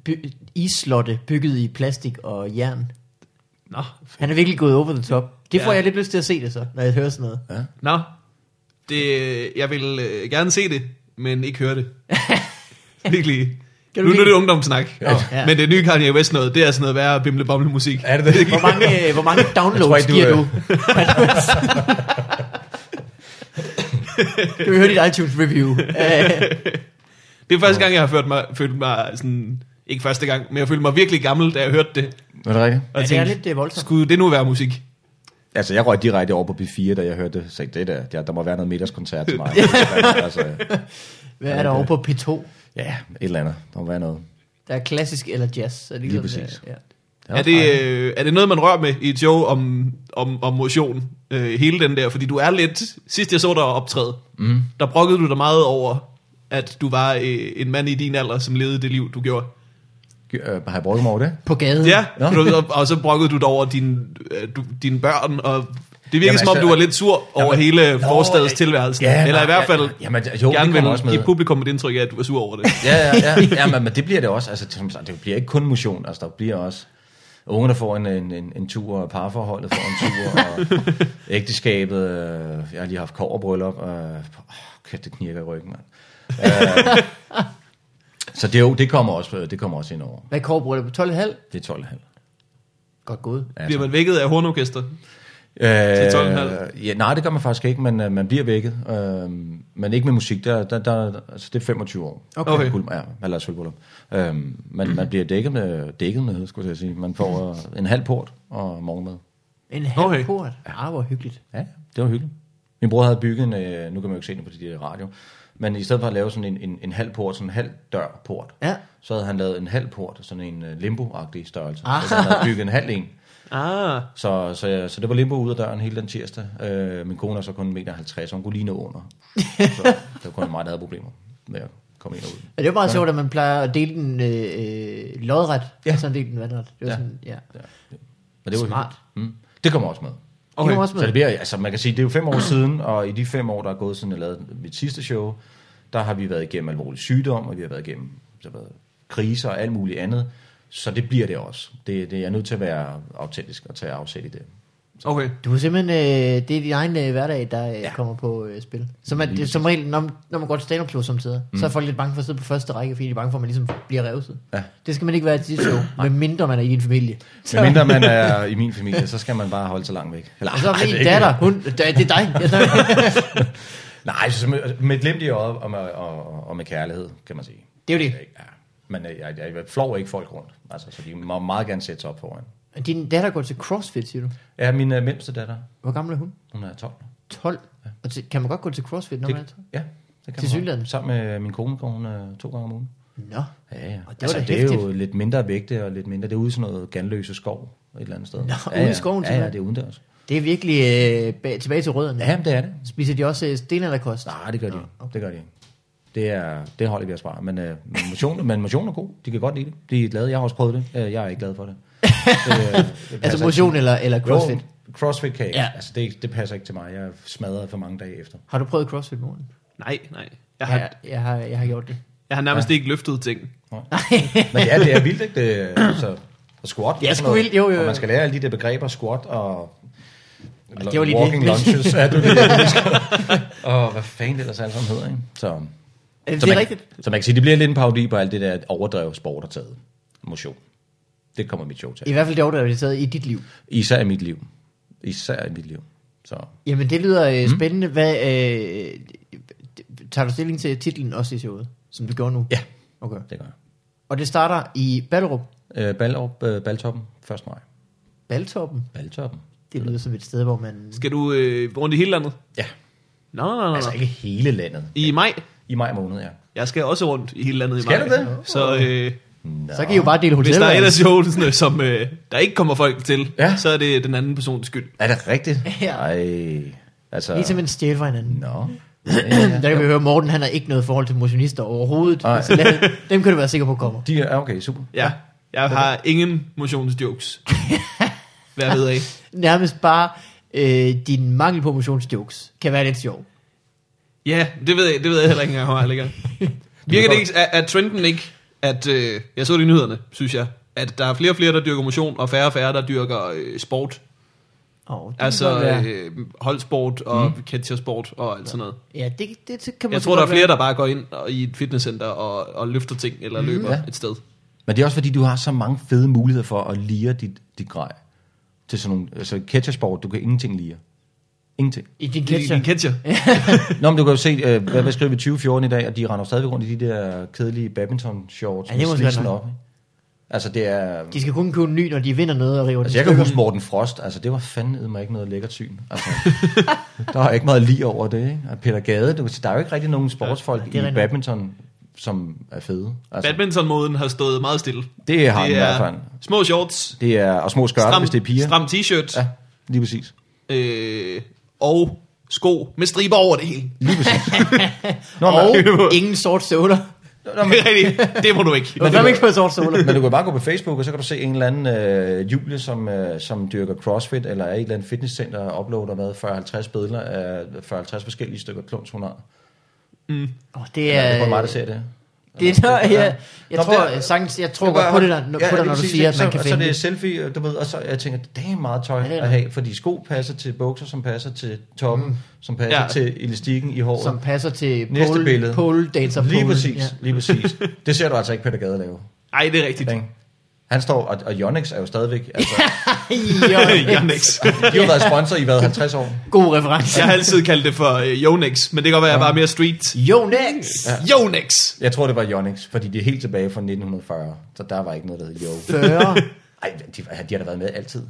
S3: by, islotte bygget i plastik og jern.
S2: Nå.
S3: Han er virkelig gået over the top. Det får
S2: Ja.
S3: jeg lidt lyst til at se det så, når jeg hører sådan noget.
S2: Nå. Det, jeg vil øh, gerne se det, men ikke høre det. Virkelig.
S3: Kan du
S2: Nu, nu er
S3: lide-
S2: det ungdomssnak.
S3: Nå, ja.
S2: Ja. Men det nye Kanye West noget, det er sådan noget værre bimle musik.
S1: Er det det?
S3: Hvor mange, øh, hvor mange
S1: tror
S3: downloads
S1: ikke, du, øh,
S3: giver du? Kan vi høre dit iTunes review? Øh,
S2: Det er første gang, jeg har følt mig, følt mig sådan, ikke første gang, men jeg følte mig virkelig gammel, da jeg hørte det.
S1: Var det rigtigt?
S2: Og
S3: Ja, det er lidt, øh, voldsomt.
S2: Skulle det nu være musik?
S1: Altså, jeg røg direkte over på B4, da jeg hørte det. Så sagde, det der, der, der må være noget middagskoncert til mig. altså,
S3: hvad er der over på P2?
S1: ja, et eller andet. Der må være noget.
S3: Der er klassisk eller jazz. Så det er
S1: Lige
S3: ligesom,
S1: præcis.
S3: øh, Ja.
S1: Ja,
S2: er, det, øh, er det noget, man rører med i et show om, om, om motion? Øh, hele den der, fordi du er lidt... Sidst jeg så dig optræde,
S1: Mhm.
S2: mm. der brokkede du dig meget over, at du var øh, en mand i din alder, som levede det liv, du gjorde.
S1: Øh, har jeg brugt mig over det?
S3: På gaden.
S2: Ja,
S1: Nå.
S2: du, og, og så brokkede du dig over din, øh, du, dine børn, og det virkede
S1: Jamen,
S2: som om,
S1: altså-
S2: du var lidt sur over
S1: Jamen,
S2: hele
S1: nå,
S2: forstadets
S1: øh,
S2: tilværelse.
S1: ja,
S2: Eller
S1: nej,
S2: i hvert fald
S1: ja, ja, jamen, jo, det kommer også
S2: gerne
S1: med.
S2: vil give publikum et indtryk af, at du var sur over det.
S1: ja, ja, ja, ja men, men det bliver det også. Altså, som sagt, det bliver ikke kun motion, altså, der bliver også unge, der får en, en, en, en tur, og parforholdet får en tur, og ægteskabet, øh, jeg har lige haft kårbryllup, og øh, kæft, det knirker i ryggen, mand. Øh, Så det, er jo, det, kommer også, øh, det kommer også ind over.
S3: Hvad kår bruger du på 12,5?
S1: Det er 12,5.
S3: Godt gået.
S1: Ja,
S2: Bliver man vækket af hornorkester?
S1: Øh,
S2: 12,5?
S1: Ja, nej, det gør man faktisk ikke, men øh, man bliver vækket. Øh, men ikke med musik, der, der, der, altså, det er 25 år.
S2: Okay. Okay.
S1: Guld, ja, eller sølvbryllup. Øh, men man bliver dækket med, dækket med, skulle jeg til at sige. Man får øh, en halv port og morgenmad.
S3: En halv
S2: Okay.
S3: okay. port. Ah, hvor hyggeligt.
S1: Ja, det var hyggeligt. Min bror havde bygget en, øh, nu kan man jo ikke se det på de der radio, men i stedet for at lave sådan en, en, en halv port, sådan en halv dør port,
S3: Ja.
S1: så havde han lavet en halv port, sådan en øh, limbo-agtig størrelse. Ah. Så han havde bygget en halv en.
S2: Ah,
S1: Så, så, jeg- så det var limbo ud af døren hele den tirsdag. Øh, min kone er så kun 1,50 meter, så hun kunne lige nå under. Så det var kun mig, der havde problemer med at komme ind og ud.
S3: Ja, det var meget sjovt, at man plejer at dele den øh, øh, lodret, ja. og så dele den vandret. Det var ja.
S1: Ja.
S3: sådan, ja.
S1: Ja. Men det var
S3: Smart.
S1: hyggeligt. Mm. Det kommer også med.
S3: Okay. Det var også
S1: Så det
S3: med.
S1: bliver, altså man kan sige, det er jo fem år siden, og i de fem år, der er gået siden jeg lavede mit sidste show, der har vi været igennem alvorlig sygdom, og vi har været igennem der har været kriser og alt muligt andet. Så det bliver det også. Det, det jeg er nødt til at være autentisk og tage afsæt i det.
S2: okay.
S3: Du er simpelthen, øh, det er din egen øh, hverdag, der øh, ja. kommer på øh, spil. Så man, det, er som regel, når, man- når man går til stand-up show samtidig, mm. så er folk lidt bange for at sidde på første række, fordi de er bange for, at man ligesom bliver revset.
S1: Ja.
S3: Det skal man ikke være til dit show, medmindre man er i din familie.
S1: Men mindre man er i min familie, så skal man bare holde sig langt væk. Eller,
S3: Og så er
S1: ej, det
S3: min
S1: ikke-
S3: datter, hun, det, det er dig. Jeg snakker-
S1: Nej, så med, med et glimt i øjet og med, og, og med kærlighed, kan man sige.
S3: det er jo det.
S1: Ja. Men øh, jeg, jeg, jeg flår ikke folk rundt, altså, så de må meget gerne sætte sig op foran.
S3: Din datter går til CrossFit, siger du.
S1: Ja, min øh, mindste datter,
S3: Hvor gammel er hun?
S1: hun er 12.
S3: 12. Og til, kan man godt gå til CrossFit, når man er
S1: Det,
S3: 12?
S1: ja, det
S3: Til
S1: kan man
S3: synligheden.
S1: godt. Sammen med min kone går hun øh, to gange om ugen.
S3: Nå.
S1: Ja, ja.
S3: Og det var
S1: altså,
S3: da
S1: det er jo
S3: hæftigt.
S1: lidt mindre vægte og lidt mindre. Det er ude i sådan noget ganløse skov et eller andet sted. Nå, ja,
S3: ude i
S1: ja.
S3: skoven
S1: Ja, ja,
S3: simpelthen.
S1: det er udendørs.
S3: Det er virkelig øh, bag, tilbage til rødderne.
S1: Ja, men det er det.
S3: Spiser de også øh, stenalderkost?
S1: Nej, Ah, det gør de ikke. Det gør de ikke. Det, er, det holder vi os fra. Men, øh, men, motion, men motion er god. De kan godt lide det. De er glade. Jeg har også prøvet det. Øh, jeg er ikke glad for det. det, øh, det
S3: Altså
S1: passer
S3: motion
S1: ikke.
S3: eller, eller crossfit? Jo.
S1: Jo, crossfit kan jeg.
S3: Ja.
S1: Ja. Altså, det, det passer ikke til mig. Jeg er smadret for mange dage efter.
S3: Har du prøvet crossfit morgen?
S2: Nej, nej. Jeg har,
S3: Jeg, jeg, har, jeg har gjort det.
S2: jeg har nærmest ikke løftet ting.
S1: Men ja, det er vildt, ikke? Det, altså, og squat.
S3: Ja,
S1: og sådan
S3: sgu
S1: noget.
S3: vildt, jo, jo, jo.
S1: Og man skal lære alle de der begreber, squat og...
S3: det var lige det.
S1: walking lunches, ja, det var lige det, jeg husker. og hvad fanden det ellers alt sammen hedder, ikke? Så,
S3: Øh,
S1: så
S3: Det er
S1: man,
S3: rigtigt.
S1: Så man kan sige, det bliver lidt en parodi på alt det der overdrev sport og taget. Motion. Det kommer mit show
S3: I
S1: til.
S3: hvert fald det overdraget i dit liv.
S1: Især i mit liv. Især i mit liv. Så
S3: Jamen det lyder øh, spændende. Hvad, øh, tager du stilling til titlen også i showet, som du gjorde nu?
S1: ja,
S3: Okay.
S1: det gør jeg.
S3: Og det starter i Ballerup.
S1: Øh, Ballerup, øh, Baltoppen, 1. maj.
S3: Baltoppen.
S1: Baltoppen.
S3: Det lyder som et sted, hvor man...
S2: Skal du øh, rundt i hele landet?
S1: Ja,
S2: Nå, nej, nej,
S1: altså
S2: nej.
S1: ikke hele landet.
S2: I maj?
S1: I maj måned, ja.
S2: Jeg skal også rundt i hele landet i maj.
S1: Skal du det?
S2: Så øh,
S1: Nå.
S3: Så kan I jo bare dele
S2: hvis der er et af
S3: hotellet.
S2: showene, som øh, der ikke kommer folk til,
S1: Ja.
S2: så er det den anden persons skyld.
S1: Er det rigtigt?
S3: Ja.
S1: Ej, altså...
S3: Ligesom en stjæl fra hinanden.
S1: Nå. Ja, ja,
S3: Der
S1: ja.
S3: kan vi høre, Morten han har ikke noget forhold til motionister overhovedet.
S1: Nej.
S3: Så lad, dem kan du være sikker på kommer.
S1: De er, okay, super.
S2: Ja. Jeg har ingen motionsjokes. Hvad jeg ved af.
S3: Nærmest bare øh, din mangel på motionsjokes kan være lidt sjov.
S2: Ja, det ved jeg, det ved jeg heller ikke engang, hvor jeg ligger. Virker det ikke, er, er trenden ikke, at, øh, jeg så det i nyhederne, synes jeg, at der er flere og flere, der dyrker motion, og færre og færre, der dyrker øh, sport.
S3: Oh, det kan godt
S2: Altså
S3: være.
S2: øh, holdsport og mm. catchersport og alt sådan noget.
S3: ja, det, det, det kan man
S2: Jeg tror, der er flere, der bare går ind og- i et fitnesscenter og, og løfter ting, eller løber
S1: Ja.
S2: et sted.
S1: Men det er også fordi, du har så mange fede muligheder for at lire dit, dit grej. Til sådan nogle, altså catchersport, du kan ingenting lire. Ingenting.
S3: I din
S2: Ketcher.
S3: ketcher.
S2: En catcher.
S1: Nå, men du kan jo se, øh, hvad, hvad skriver vi 2014 i dag, og de render jo stadigvæk rundt i de der kedelige badminton shorts.
S3: Ja, det er måske godt nok.
S1: op. ikke? Altså det er...
S3: De skal kun købe en ny, når de vinder noget og river
S1: Altså
S3: den
S1: jeg kan
S3: stykker.
S1: huske Morten Frost, altså det var fandme mig ikke noget lækkert syn. Altså, der er ikke meget lige over det, ikke? Og Peter Gade, du, kan sige, der er jo ikke rigtig nogen sportsfolk
S3: Ja, det er
S1: ja, i
S3: rigtig nok.
S1: badminton, som er fede. Altså,
S2: Badmintonmoden har stået meget stille.
S1: det har han i hvert fald.
S2: små shorts,
S1: Det er, og små skørter,
S2: stram,
S1: hvis det er piger.
S2: stram t-shirt,
S1: Ja, lige præcis.
S2: øh, og sko med striber over det hele.
S1: Lige præcis. Nå, men,
S3: Og
S1: og...
S3: ingen sort støvler.
S1: nå,
S2: Det
S1: men,
S2: er rigtigt. Det må du ikke.
S3: Hvorfor har vi ikke fået sort støvler?
S1: men du kan bare gå på Facebook, og så kan du se en eller anden øh, Julie, som, øh, som dyrker CrossFit, eller er i et eller andet fitnesscenter og uploader hvad, 40-50 billeder af 40-50 forskellige stykker klunts, hun har.
S3: Åh, det
S1: Ja,
S3: er...
S1: det er mig, der ser det.
S3: Det er der,
S1: Ja.
S3: jeg, jeg,
S1: Nå,
S3: tror,
S1: der-
S3: det, sagtens, jeg tror godt på det, der, på det, når du
S1: præcis,
S3: siger, at man
S1: så,
S3: kan
S1: så
S3: finde
S1: det er
S3: det.
S1: selfie, du ved, og så jeg tænker, det er meget tøj
S3: Ja, det er
S1: at
S3: det.
S1: have, fordi sko passer til bukser, som passer til toppen, mm. som passer
S2: Ja.
S1: ja. til elastikken i håret.
S3: som passer til
S1: Næste
S3: pole,
S1: billede.
S3: pole dancer
S1: lige
S3: pole.
S1: præcis,
S3: Ja.
S1: lige præcis. Det ser du altså ikke Peter Gade lave.
S2: Ej, det er rigtigt.
S1: Ikke? Han står, og, og Yonex er jo stadigvæk, altså,
S3: jo,
S2: Yonex.
S1: de har været sponsor i hvad, 50 år?
S3: god reference.
S2: Jeg har altid kaldt det for øh, Yonex, men det kan godt være, at jeg bare er mere street.
S3: Jo, next.
S2: Yonex!
S1: Jeg tror, det var Yonex, fordi det er helt tilbage fra 1940, så der var ikke noget, der hed Yo.
S3: 40.
S1: Ej, de, de har da været med altid.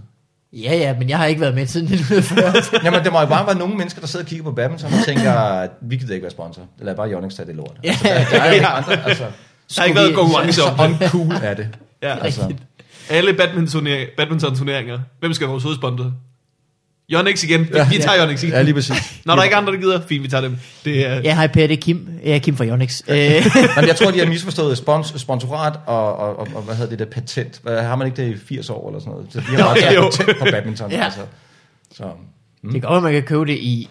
S3: Ja, ja, men jeg har ikke været med siden 1940.
S1: Jamen, der må jo bare være nogle mennesker, der sidder og kigger på badminton og tænker, vi gider ikke være sponsor. Lad bare Yonex tage det lort.
S3: Ja.
S1: Altså, der, der er jo ikke andre, altså,
S2: Der har ikke
S3: Skulle
S2: været
S3: vi-
S2: konkurrence
S1: så
S2: om det.
S1: uncool er det.
S2: Ja.
S1: Altså,
S2: Alle badminton-turneringer, badminton-turneringer. Hvem skal være vores hovedsponsor? Yonex igen. Ja, vi tager ja. Yonex igen.
S1: ja, lige præcis.
S2: Når der er ikke andre, der gider, fint, vi tager dem. Det er, ja.
S3: Ja, hej Per, det er Kim. Jeg er Kim fra Yonex. Øh,
S1: Jamen, jeg tror, de har misforstået spons, sponsorat og, og, og, og, hvad hedder det der, patent. Hvad, har man ikke det i 80 år eller sådan noget? Så de har bare
S2: jo.
S1: taget patent på badminton.
S3: Ja.
S1: ja. altså. Så,
S3: det kan godt være, man kan købe det i...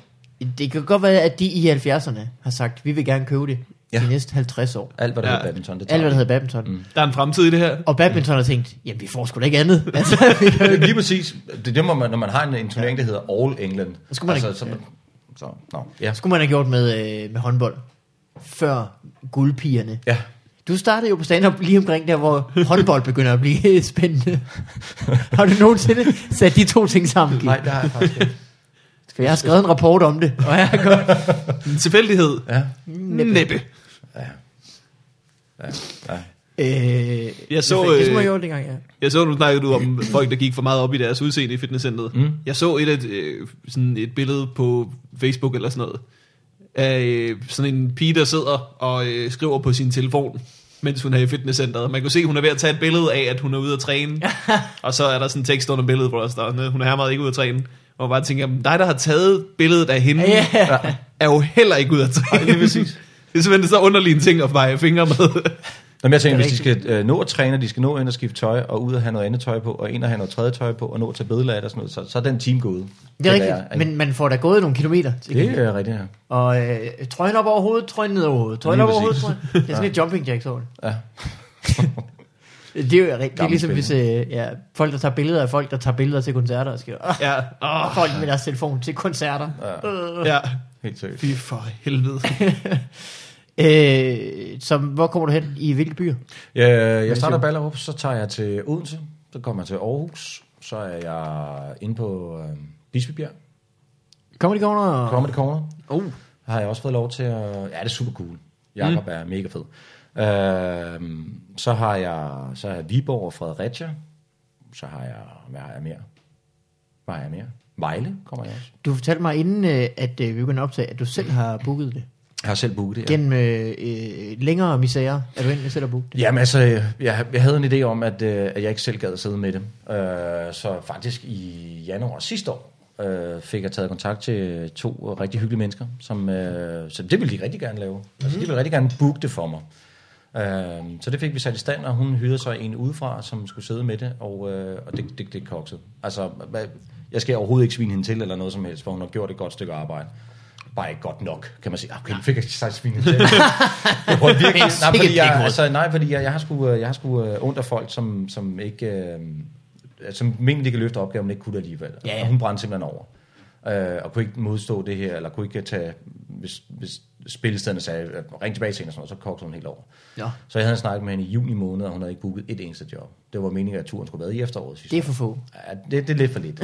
S3: Det kan godt være, at de i 70'erne har sagt, vi vil gerne købe det ja.
S1: Ja.
S3: de næste 50 år.
S1: alt, hvad der
S2: Ja.
S1: ja. hedder badminton, det tager
S3: Alt, hvad
S1: vi.
S3: der hedder badminton. Mm.
S2: der er en fremtid i det her.
S3: Og badminton har tænkt, jamen vi får sgu da ikke andet. Altså,
S1: Ja, Øh, Lige præcis. Det er det, hvor man, når man har en, en turnering, der hedder All England. Altså,
S3: Så skulle man ikke-
S1: så, så, no. ja.
S3: skulle man have gjort med, øh, med håndbold. Før guldpigerne.
S1: ja.
S3: Du startede jo på stand-up lige omkring der, hvor håndbold begynder at blive spændende. har du nogensinde sat de to ting sammen? Kim?
S1: Nej, det har jeg faktisk ikke.
S3: For jeg har skrevet en rapport om det, og jeg har gået...
S2: En tilfældighed.
S1: Ja.
S2: Næppe. Næppe.
S1: Ja. Ja.
S3: Øh,
S2: Jeg så,
S3: Det
S2: øh,
S3: skulle man gjort dengang, ja.
S2: Jeg så, nu snakkede du om folk, der gik for meget op i deres udseende i fitnesscenteret. Mm. Jeg så et, et, øh, sådan et billede på Facebook eller sådan noget, af øh, sådan en pige, der sidder og øh, skriver på sin telefon, mens hun er i fitnesscenteret. Man kunne se, at hun er ved at tage et billede af, at hun er ude at træne. og så er der sådan en tekst under billedet, hvor der står, sådan, hun er her meget ikke ude at træne. Og bare tænker, "Men dig, der har taget billedet af hende,
S3: Ja.
S2: er jo heller ikke ude at træne.
S1: lige præcis.
S2: det er simpelthen så underlige ting at veje fingre med.
S1: Nå, men jeg tænker,
S3: Det er
S1: hvis de skal øh, nå at træne, og de skal nå ind og skifte tøj, og ud og have noget andet tøj på, og ind og have noget tredje tøj på, og nå at tage billeder af det og sådan noget, så, så er den team gået.
S3: Det er rigtigt, men man får da gået nogle kilometer. Til
S1: Det er rigtigt, ja.
S3: Og øh, trøjen op over hovedet, trøjen ned over hovedet, trøjen
S1: Lige
S3: op over hovedet,
S1: præcis.
S3: trøjen. Det er sådan et jumping jacks over det.
S1: ja.
S3: Det er jo rigtigt. Det er
S1: Gammel
S3: ligesom hvis øh, ja, folk, der tager billeder af folk, der tager billeder til koncerter og skriver, "Åh,
S2: ja. Oh,
S3: folk med deres telefon til koncerter. Øh.
S2: ja.
S1: Helt seriøst.
S2: Fy for helvede.
S3: Øh, som, hvor kommer du hen? I hvilke byer?
S1: Ja, øh, jeg starter i Ballerup, så tager jeg til Odense, så kommer jeg til Aarhus, så er jeg inde på øh, Bispebjerg,
S3: Kommer de under?
S1: Comedy Corner,
S3: Uh.
S1: har jeg også fået lov til at... Ja, det er super cool. Jakob Oh. mm. er mega fed. Øh, så har jeg så har jeg Viborg og Fredericia. Så har jeg... Hvad har jeg mere? Hvad har jeg mere? Vejle kommer jeg også.
S3: Du fortalte mig inden, øh, at øh, vi begyndte at optage, at du selv har booket det.
S1: Jeg har selv booket det, ja.
S3: Gennem øh, øh, længere misære er du egentlig selv har booket det.
S1: Jamen altså, jeg, jeg havde en idé om, at, øh, at jeg ikke selv gad at sidde med det. Øh, så faktisk i januar sidste år øh, fik jeg taget kontakt til to rigtig hyggelige mennesker, som, øh, så det ville de rigtig gerne lave. Mm-hmm. Altså, de ville rigtig gerne booke det for mig. Øh, så det fik vi sat i stand, og hun hyrede sig en udefra, som skulle sidde med det, og, øh, og det, det, det koksede. Altså, hvad- jeg skal overhovedet ikke svine hende til eller noget som helst, for hun har gjort et godt stykke arbejde. Bare ikke godt nok, kan man sige. Ah, Okay, nu fik jeg sagt svine hende til. Jeg prøver virkelig. Nej,
S3: Sikke
S1: fordi jeg,
S3: pikhoved.
S1: altså, nej, fordi jeg, jeg har sgu, øh, jeg har sgu øh, ondt af folk, som, som ikke... Øh, som mente, de kan løfte opgaven, men ikke kunne det alligevel.
S3: Ja, ja.
S1: Og hun brændte simpelthen over. Øh, og kunne ikke modstå det her, eller kunne ikke tage... Hvis, hvis spillestederne sagde, øh, ring tilbage til hende og sådan noget, så kogte hun helt over.
S3: Ja.
S1: Så jeg havde snakket med hende i juni måned, og hun havde ikke booket et eneste job. Det var meningen, at turen skulle have været i efteråret sidste
S3: Det er for få.
S1: år. ja, det, det er lidt for lidt.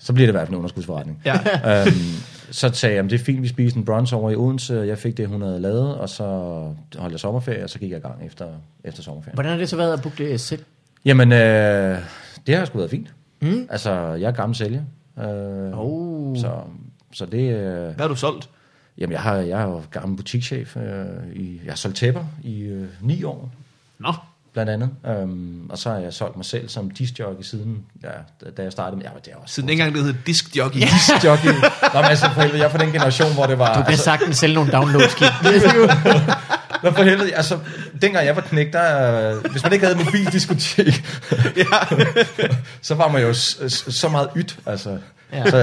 S1: så bliver det i hvert fald en underskudsforretning
S2: Ja.
S1: øhm, så sagde jeg, "Jamen, det er fint, vi spiste en brunch over i Odense, og jeg fik det, hun havde lavet, og så holdt jeg sommerferie, og så gik jeg i gang efter, efter sommerferien.
S3: Hvordan har det så været at booke det selv?
S1: Jamen, øh, det har sgu været fint. Mm. Altså, jeg er gammel sælger. Øh,
S3: Oh.
S1: så, så det... Øh,
S2: Hvad har du solgt?
S1: jamen, jeg, har, jeg er jo gammel butikschef. Øh, i, jeg har solgt tæpper i øh, ni år,
S2: Nå.
S1: blandt andet. Øhm, og så har jeg solgt mig selv som discjockey siden, ja, da- da jeg startede med... Ja, men det er også
S2: Siden dengang det hed Disc Jockey.
S1: discjockey. Nå, men altså, for helvede, jeg er fra den generation, hvor det var...
S3: Du kan sagtens sælge nogle downloads, Kim. Det er jo-
S1: Nå for helvede, altså, dengang jeg var knæk, der, øh, hvis man ikke havde mobildiskotek, ja. så var man jo s- s- så meget ydt, altså. Ja. Så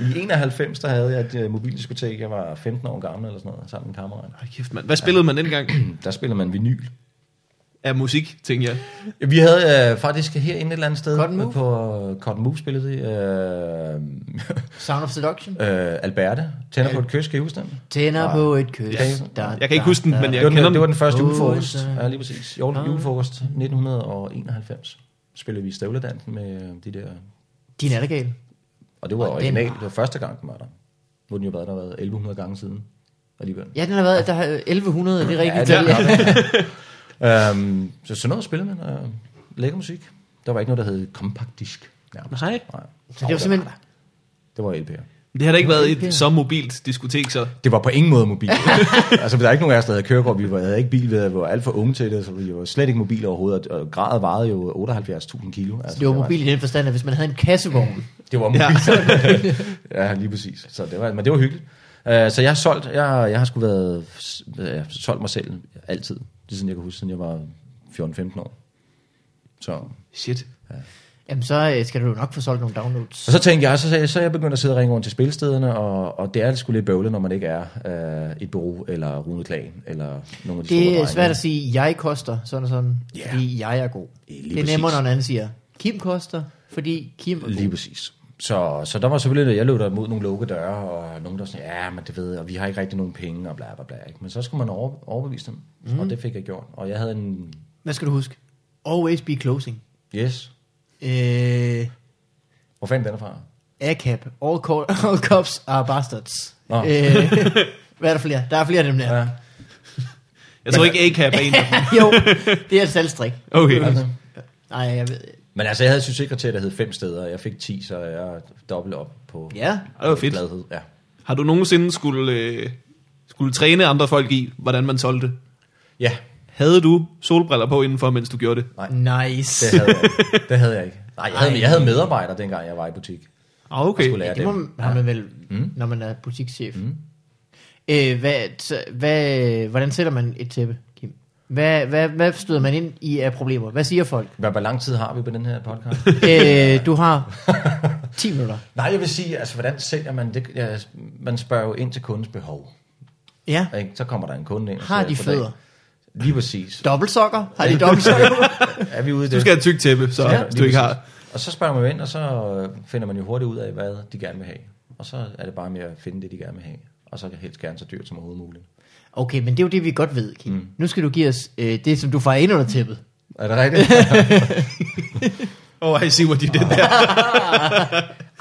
S1: øh, i 91, der havde jeg et øh, mobildiskotek, jeg var 15 år gammel eller sådan noget, sammen med kammerater.
S2: Hold kæft, mand. Hvad spillede man dengang
S1: Mm, Der spillede man vinyl.
S2: af musik, tænker jeg?
S1: Vi havde øh, faktisk herinde et eller andet sted
S3: Cotton Move?
S1: på øh, Cotton Move spillede det. Øh,
S3: Sound of Seduction.
S1: øh, Alberte, tænder på et kys, kan I huske den?
S3: Tænder
S1: Nej.
S3: på et kys.
S1: Ja.
S3: Da,
S2: Jeg kan ikke huske den,
S3: da,
S2: men
S1: Det
S2: jeg
S1: var, den,
S2: kender
S1: det var den første
S3: Åh,
S1: julefrokost.
S3: så-
S1: Ja, lige præcis. Jule, Julefrokost 1991. Spillede vi støvledansen med øh, de der...
S3: Din er da gal.
S1: Og det var
S3: Og den
S1: original.
S3: var-
S1: Det var første gang, den var der. Nu har den jo været der har været 1100 gange siden. Alligevel.
S3: Ja, den har været, der har 1100, det er rigtigt.
S1: det
S3: Ja,
S1: er
S3: det er
S1: godt. øhm, så sådan noget spillede man. Øh, lækker musik. Der var ikke noget, der hed compact disk. nærmest.
S2: Nej.
S1: Nej.
S3: så det var simpelthen,
S1: Det var LP'er.
S2: Det har da ikke været
S3: Okay.
S2: et så mobilt diskotek, så.
S1: Det var på ingen måde mobil. altså, der er ikke nogen af os, der havde kørekort. Vi var, havde ikke bil, vi havde- vi var alt for unge til det, så vi var slet ikke mobil overhovedet. Og og gradet vejede jo 78.000 kilo. Altså,
S3: det var
S1: var-
S3: mobil i den forstand, at hvis man havde en kassevogn,
S1: Det var mobil. Ja. ja, lige præcis. Så det var, men det var hyggeligt. Uh, så jeg har solgt, jeg, jeg har sgu været, jeg har solgt mig selv altid, lige siden jeg kan huske, siden jeg var 14-15 år. Så,
S2: Shit.
S3: jamen så øh, skal du jo nok få solgt nogle downloads.
S1: og så tænkte jeg, så, sagde, jeg- så er jeg begyndt at sidde og ringe rundt til spilstederne, og, og det er sgu lidt bøvlet, når man ikke er uh, et bureau, eller Rune Klagen, eller nogle af de store
S3: Det er
S1: drenge.
S3: svært at sige, jeg koster sådan og sådan,
S1: Ja.
S3: fordi jeg er god.
S1: Ja, lige
S3: det er
S1: præcis.
S3: nemmere, når en anden siger, Kim koster, fordi Kim er god.
S1: Lige præcis. Så, så der var selvfølgelig, jeg løb der mod nogle lukkede døre, og nogen der var sådan, ja, men det ved jeg, og vi har ikke rigtig nogen penge, og bla bla bla. Ikke? Men så skulle man over, overbevise dem, mm. og det fik jeg gjort. Og jeg havde en,
S3: Hvad skal du huske? Always be closing.
S1: yes,
S3: Øh,
S1: hvor fanden den er fra?
S3: ACAP. All, call, all cops are bastards.
S1: Nå.
S3: Øh, hvad er der flere? Der er flere af dem der. Ja.
S1: Ja.
S2: Jeg tror ikke, A-Cap er en af dem.
S3: jo, det er et salgstrik.
S2: Okay.
S1: Altså.
S3: Nej, jeg ved...
S1: Men altså, jeg havde sygesekretær, der hed fem steder, og jeg fik 10, så jeg dobbelt op på
S3: Ja.
S2: Ej, Det var fedt.
S1: gladhed. Ja.
S2: Har du nogensinde skulle, øh, skulle træne andre folk i, hvordan man solgte?
S1: ja,
S2: Havde du solbriller på indenfor, mens du gjorde det?
S3: Nice.
S1: det havde jeg, ikke. det havde jeg ikke. Nej, jeg havde, jeg havde medarbejdere, dengang jeg var i butik.
S2: Ah,
S1: Okay. Skulle
S2: okay.
S1: lære
S3: det må
S1: dem.
S3: man, har man vel, mm. når man er butikschef. Mm. Øh, hvad, så, hvad, hvordan sætter man et tæppe, Kim? Hvad, hvad, hvad støder man ind i af problemer? Hvad siger folk?
S1: Hvad, hvor lang tid har vi på den her podcast?
S3: øh, du har 10 minutter.
S1: Nej, jeg vil sige, altså, hvordan sælger man det? Ja, man spørger jo ind til kundens behov.
S3: Ja.
S1: Ikke? Så kommer der en kunde ind. og
S3: Har
S1: siger,
S3: de
S1: "Goddag."
S3: fødder?
S1: Lige præcis.
S3: Dobbeltsokker? Har de dobbeltsokker?
S1: Er vi ude i det?
S2: Du skal have et tyk tæppe, så
S1: Ja,
S2: ja, hvis du
S1: lige
S2: ikke
S1: præcis.
S2: har.
S1: Og så spørger man jo ind, og så øh, finder man jo hurtigt ud af, hvad de gerne vil have. Og så er det bare med at finde det, de gerne vil have. Og så kan helst gerne så dyrt som overhovedet muligt.
S3: Okay, men det er jo det, vi godt ved, Kim. Mm. Nu skal du give os øh, det, som du får ind under tæppet.
S1: Er det rigtigt?
S2: Oh, I see what you did there.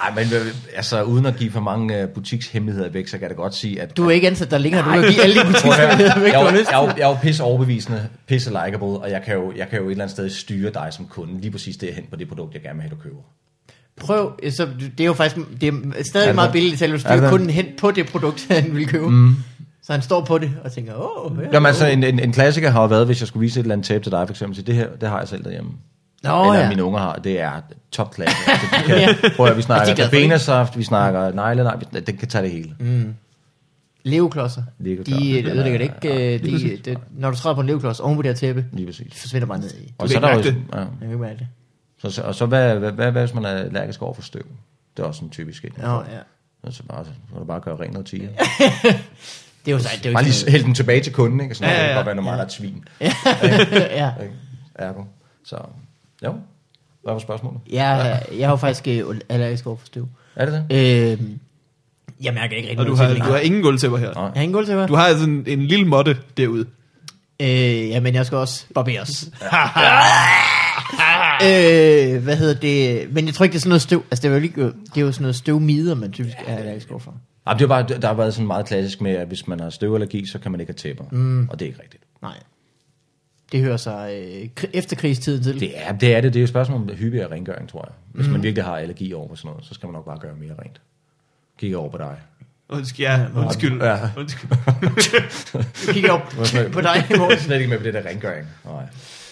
S1: Nej, men øh, altså, uden at give for mange øh, butikshemmeligheder væk, så kan jeg da godt sige, at...
S3: Du er ikke ansat der længere, du kan give alle de
S1: Prøv at høre,
S3: butiksmuligheder væk.
S1: jeg, er
S3: du har
S1: jo-
S3: lyst.
S1: jeg, er jo- jeg er jo pisse overbevisende, pisse likeable, og jeg kan, jo, jeg kan jo et eller andet sted styre dig som kunde, lige præcis det hen på det produkt, jeg gerne vil have, du køber.
S3: Prøv, øh, så det er jo faktisk det er stadig
S1: Er
S3: er
S1: det
S3: meget
S1: det?
S3: billigt, selvom
S1: Er det
S3: du
S1: det?
S3: kun hen på det produkt, han ville købe. Mm. Så han står på det og tænker, åh, oh, ja.
S1: Jamen altså, en, en, en klassiker har jo været, hvis jeg skulle vise et eller andet tape til dig, for eksempel, så det her, det har jeg selv derhjemme.
S3: Nå,
S1: eller
S3: ja.
S1: mine unger har, det er topklasse. Altså, de kan, Prøv at høre, vi
S3: Altså, de
S1: snakker
S3: er glade for det.
S1: benersaft, vi snakker negle, nej, vi- den kan tage det hele. Mm.
S3: Leveklodser, de
S1: Legoklodser,
S3: øh,
S1: det er-
S3: ødelægger det ikke.
S1: ja,
S3: øh,
S1: lige
S3: De,
S1: præcis.
S3: det, når du træder på en leveklods oven på det her tæppe,
S1: Lige
S3: det
S1: præcis.
S3: forsvinder bare ned i.
S1: Og
S2: kan
S1: så, er der
S2: ikke mærke
S1: jo,
S2: det.
S1: ja.
S3: Jeg kan ikke mærke det.
S1: så, så, og så hvad, hvad, hvad, hvad, hvis man er allergisk over for støv? Det er også en typisk en.
S3: Nå, ja.
S1: Og Så bare, så kan du bare gøre rent noget tiger.
S3: Det er jo sejt, det er jo
S1: Bare
S3: ikke
S1: lige
S3: sådan
S1: hælde den tilbage til kunden, ikke? Og Sådan,
S2: Ja,
S1: ja, ja,
S2: ja,
S1: ja. Det kan godt
S2: ja.
S1: være, når meget der er et svin.
S3: noget. ja.
S1: Ikke? Ergo. Så, jo. Hvad var spørgsmålet?
S3: Jeg, jeg har jo faktisk øh, allergisk over for støv.
S1: Er det det?
S3: Øhm, jeg mærker ikke rigtig
S2: Og du
S3: noget
S2: har,
S3: til det.
S2: du har ingen gulvtæpper her.
S1: Nej.
S3: Jeg har ingen gulvtæpper.
S2: Du har sådan en lille måtte derude.
S3: Øh, ja, men jeg skal også barberes. øh, hvad hedder det? Men jeg tror ikke, det er sådan noget støv. Altså, det er jo, lige, det er jo sådan noget støvmider, man typisk er allergisk overfor.
S1: Ej, det er bare, der har været sådan meget klassisk med, at hvis man har støvallergi, så kan man ikke have tæpper. Mm. Og det er ikke rigtigt.
S3: Nej. Det hører sig øh, kri- efterkrigstiden til.
S1: Det er det. Er det. det er jo et spørgsmål om hyppig og rengøring, tror jeg. Hvis mm. man virkelig har allergi over for sådan noget, så skal man nok bare gøre mere rent. Kigge over på dig.
S2: Undskyld, ja, undskyld.
S1: Ja.
S2: undskyld.
S3: Du kigger op på dig.
S1: Jeg er slet ikke med på det der rengøring. Nej.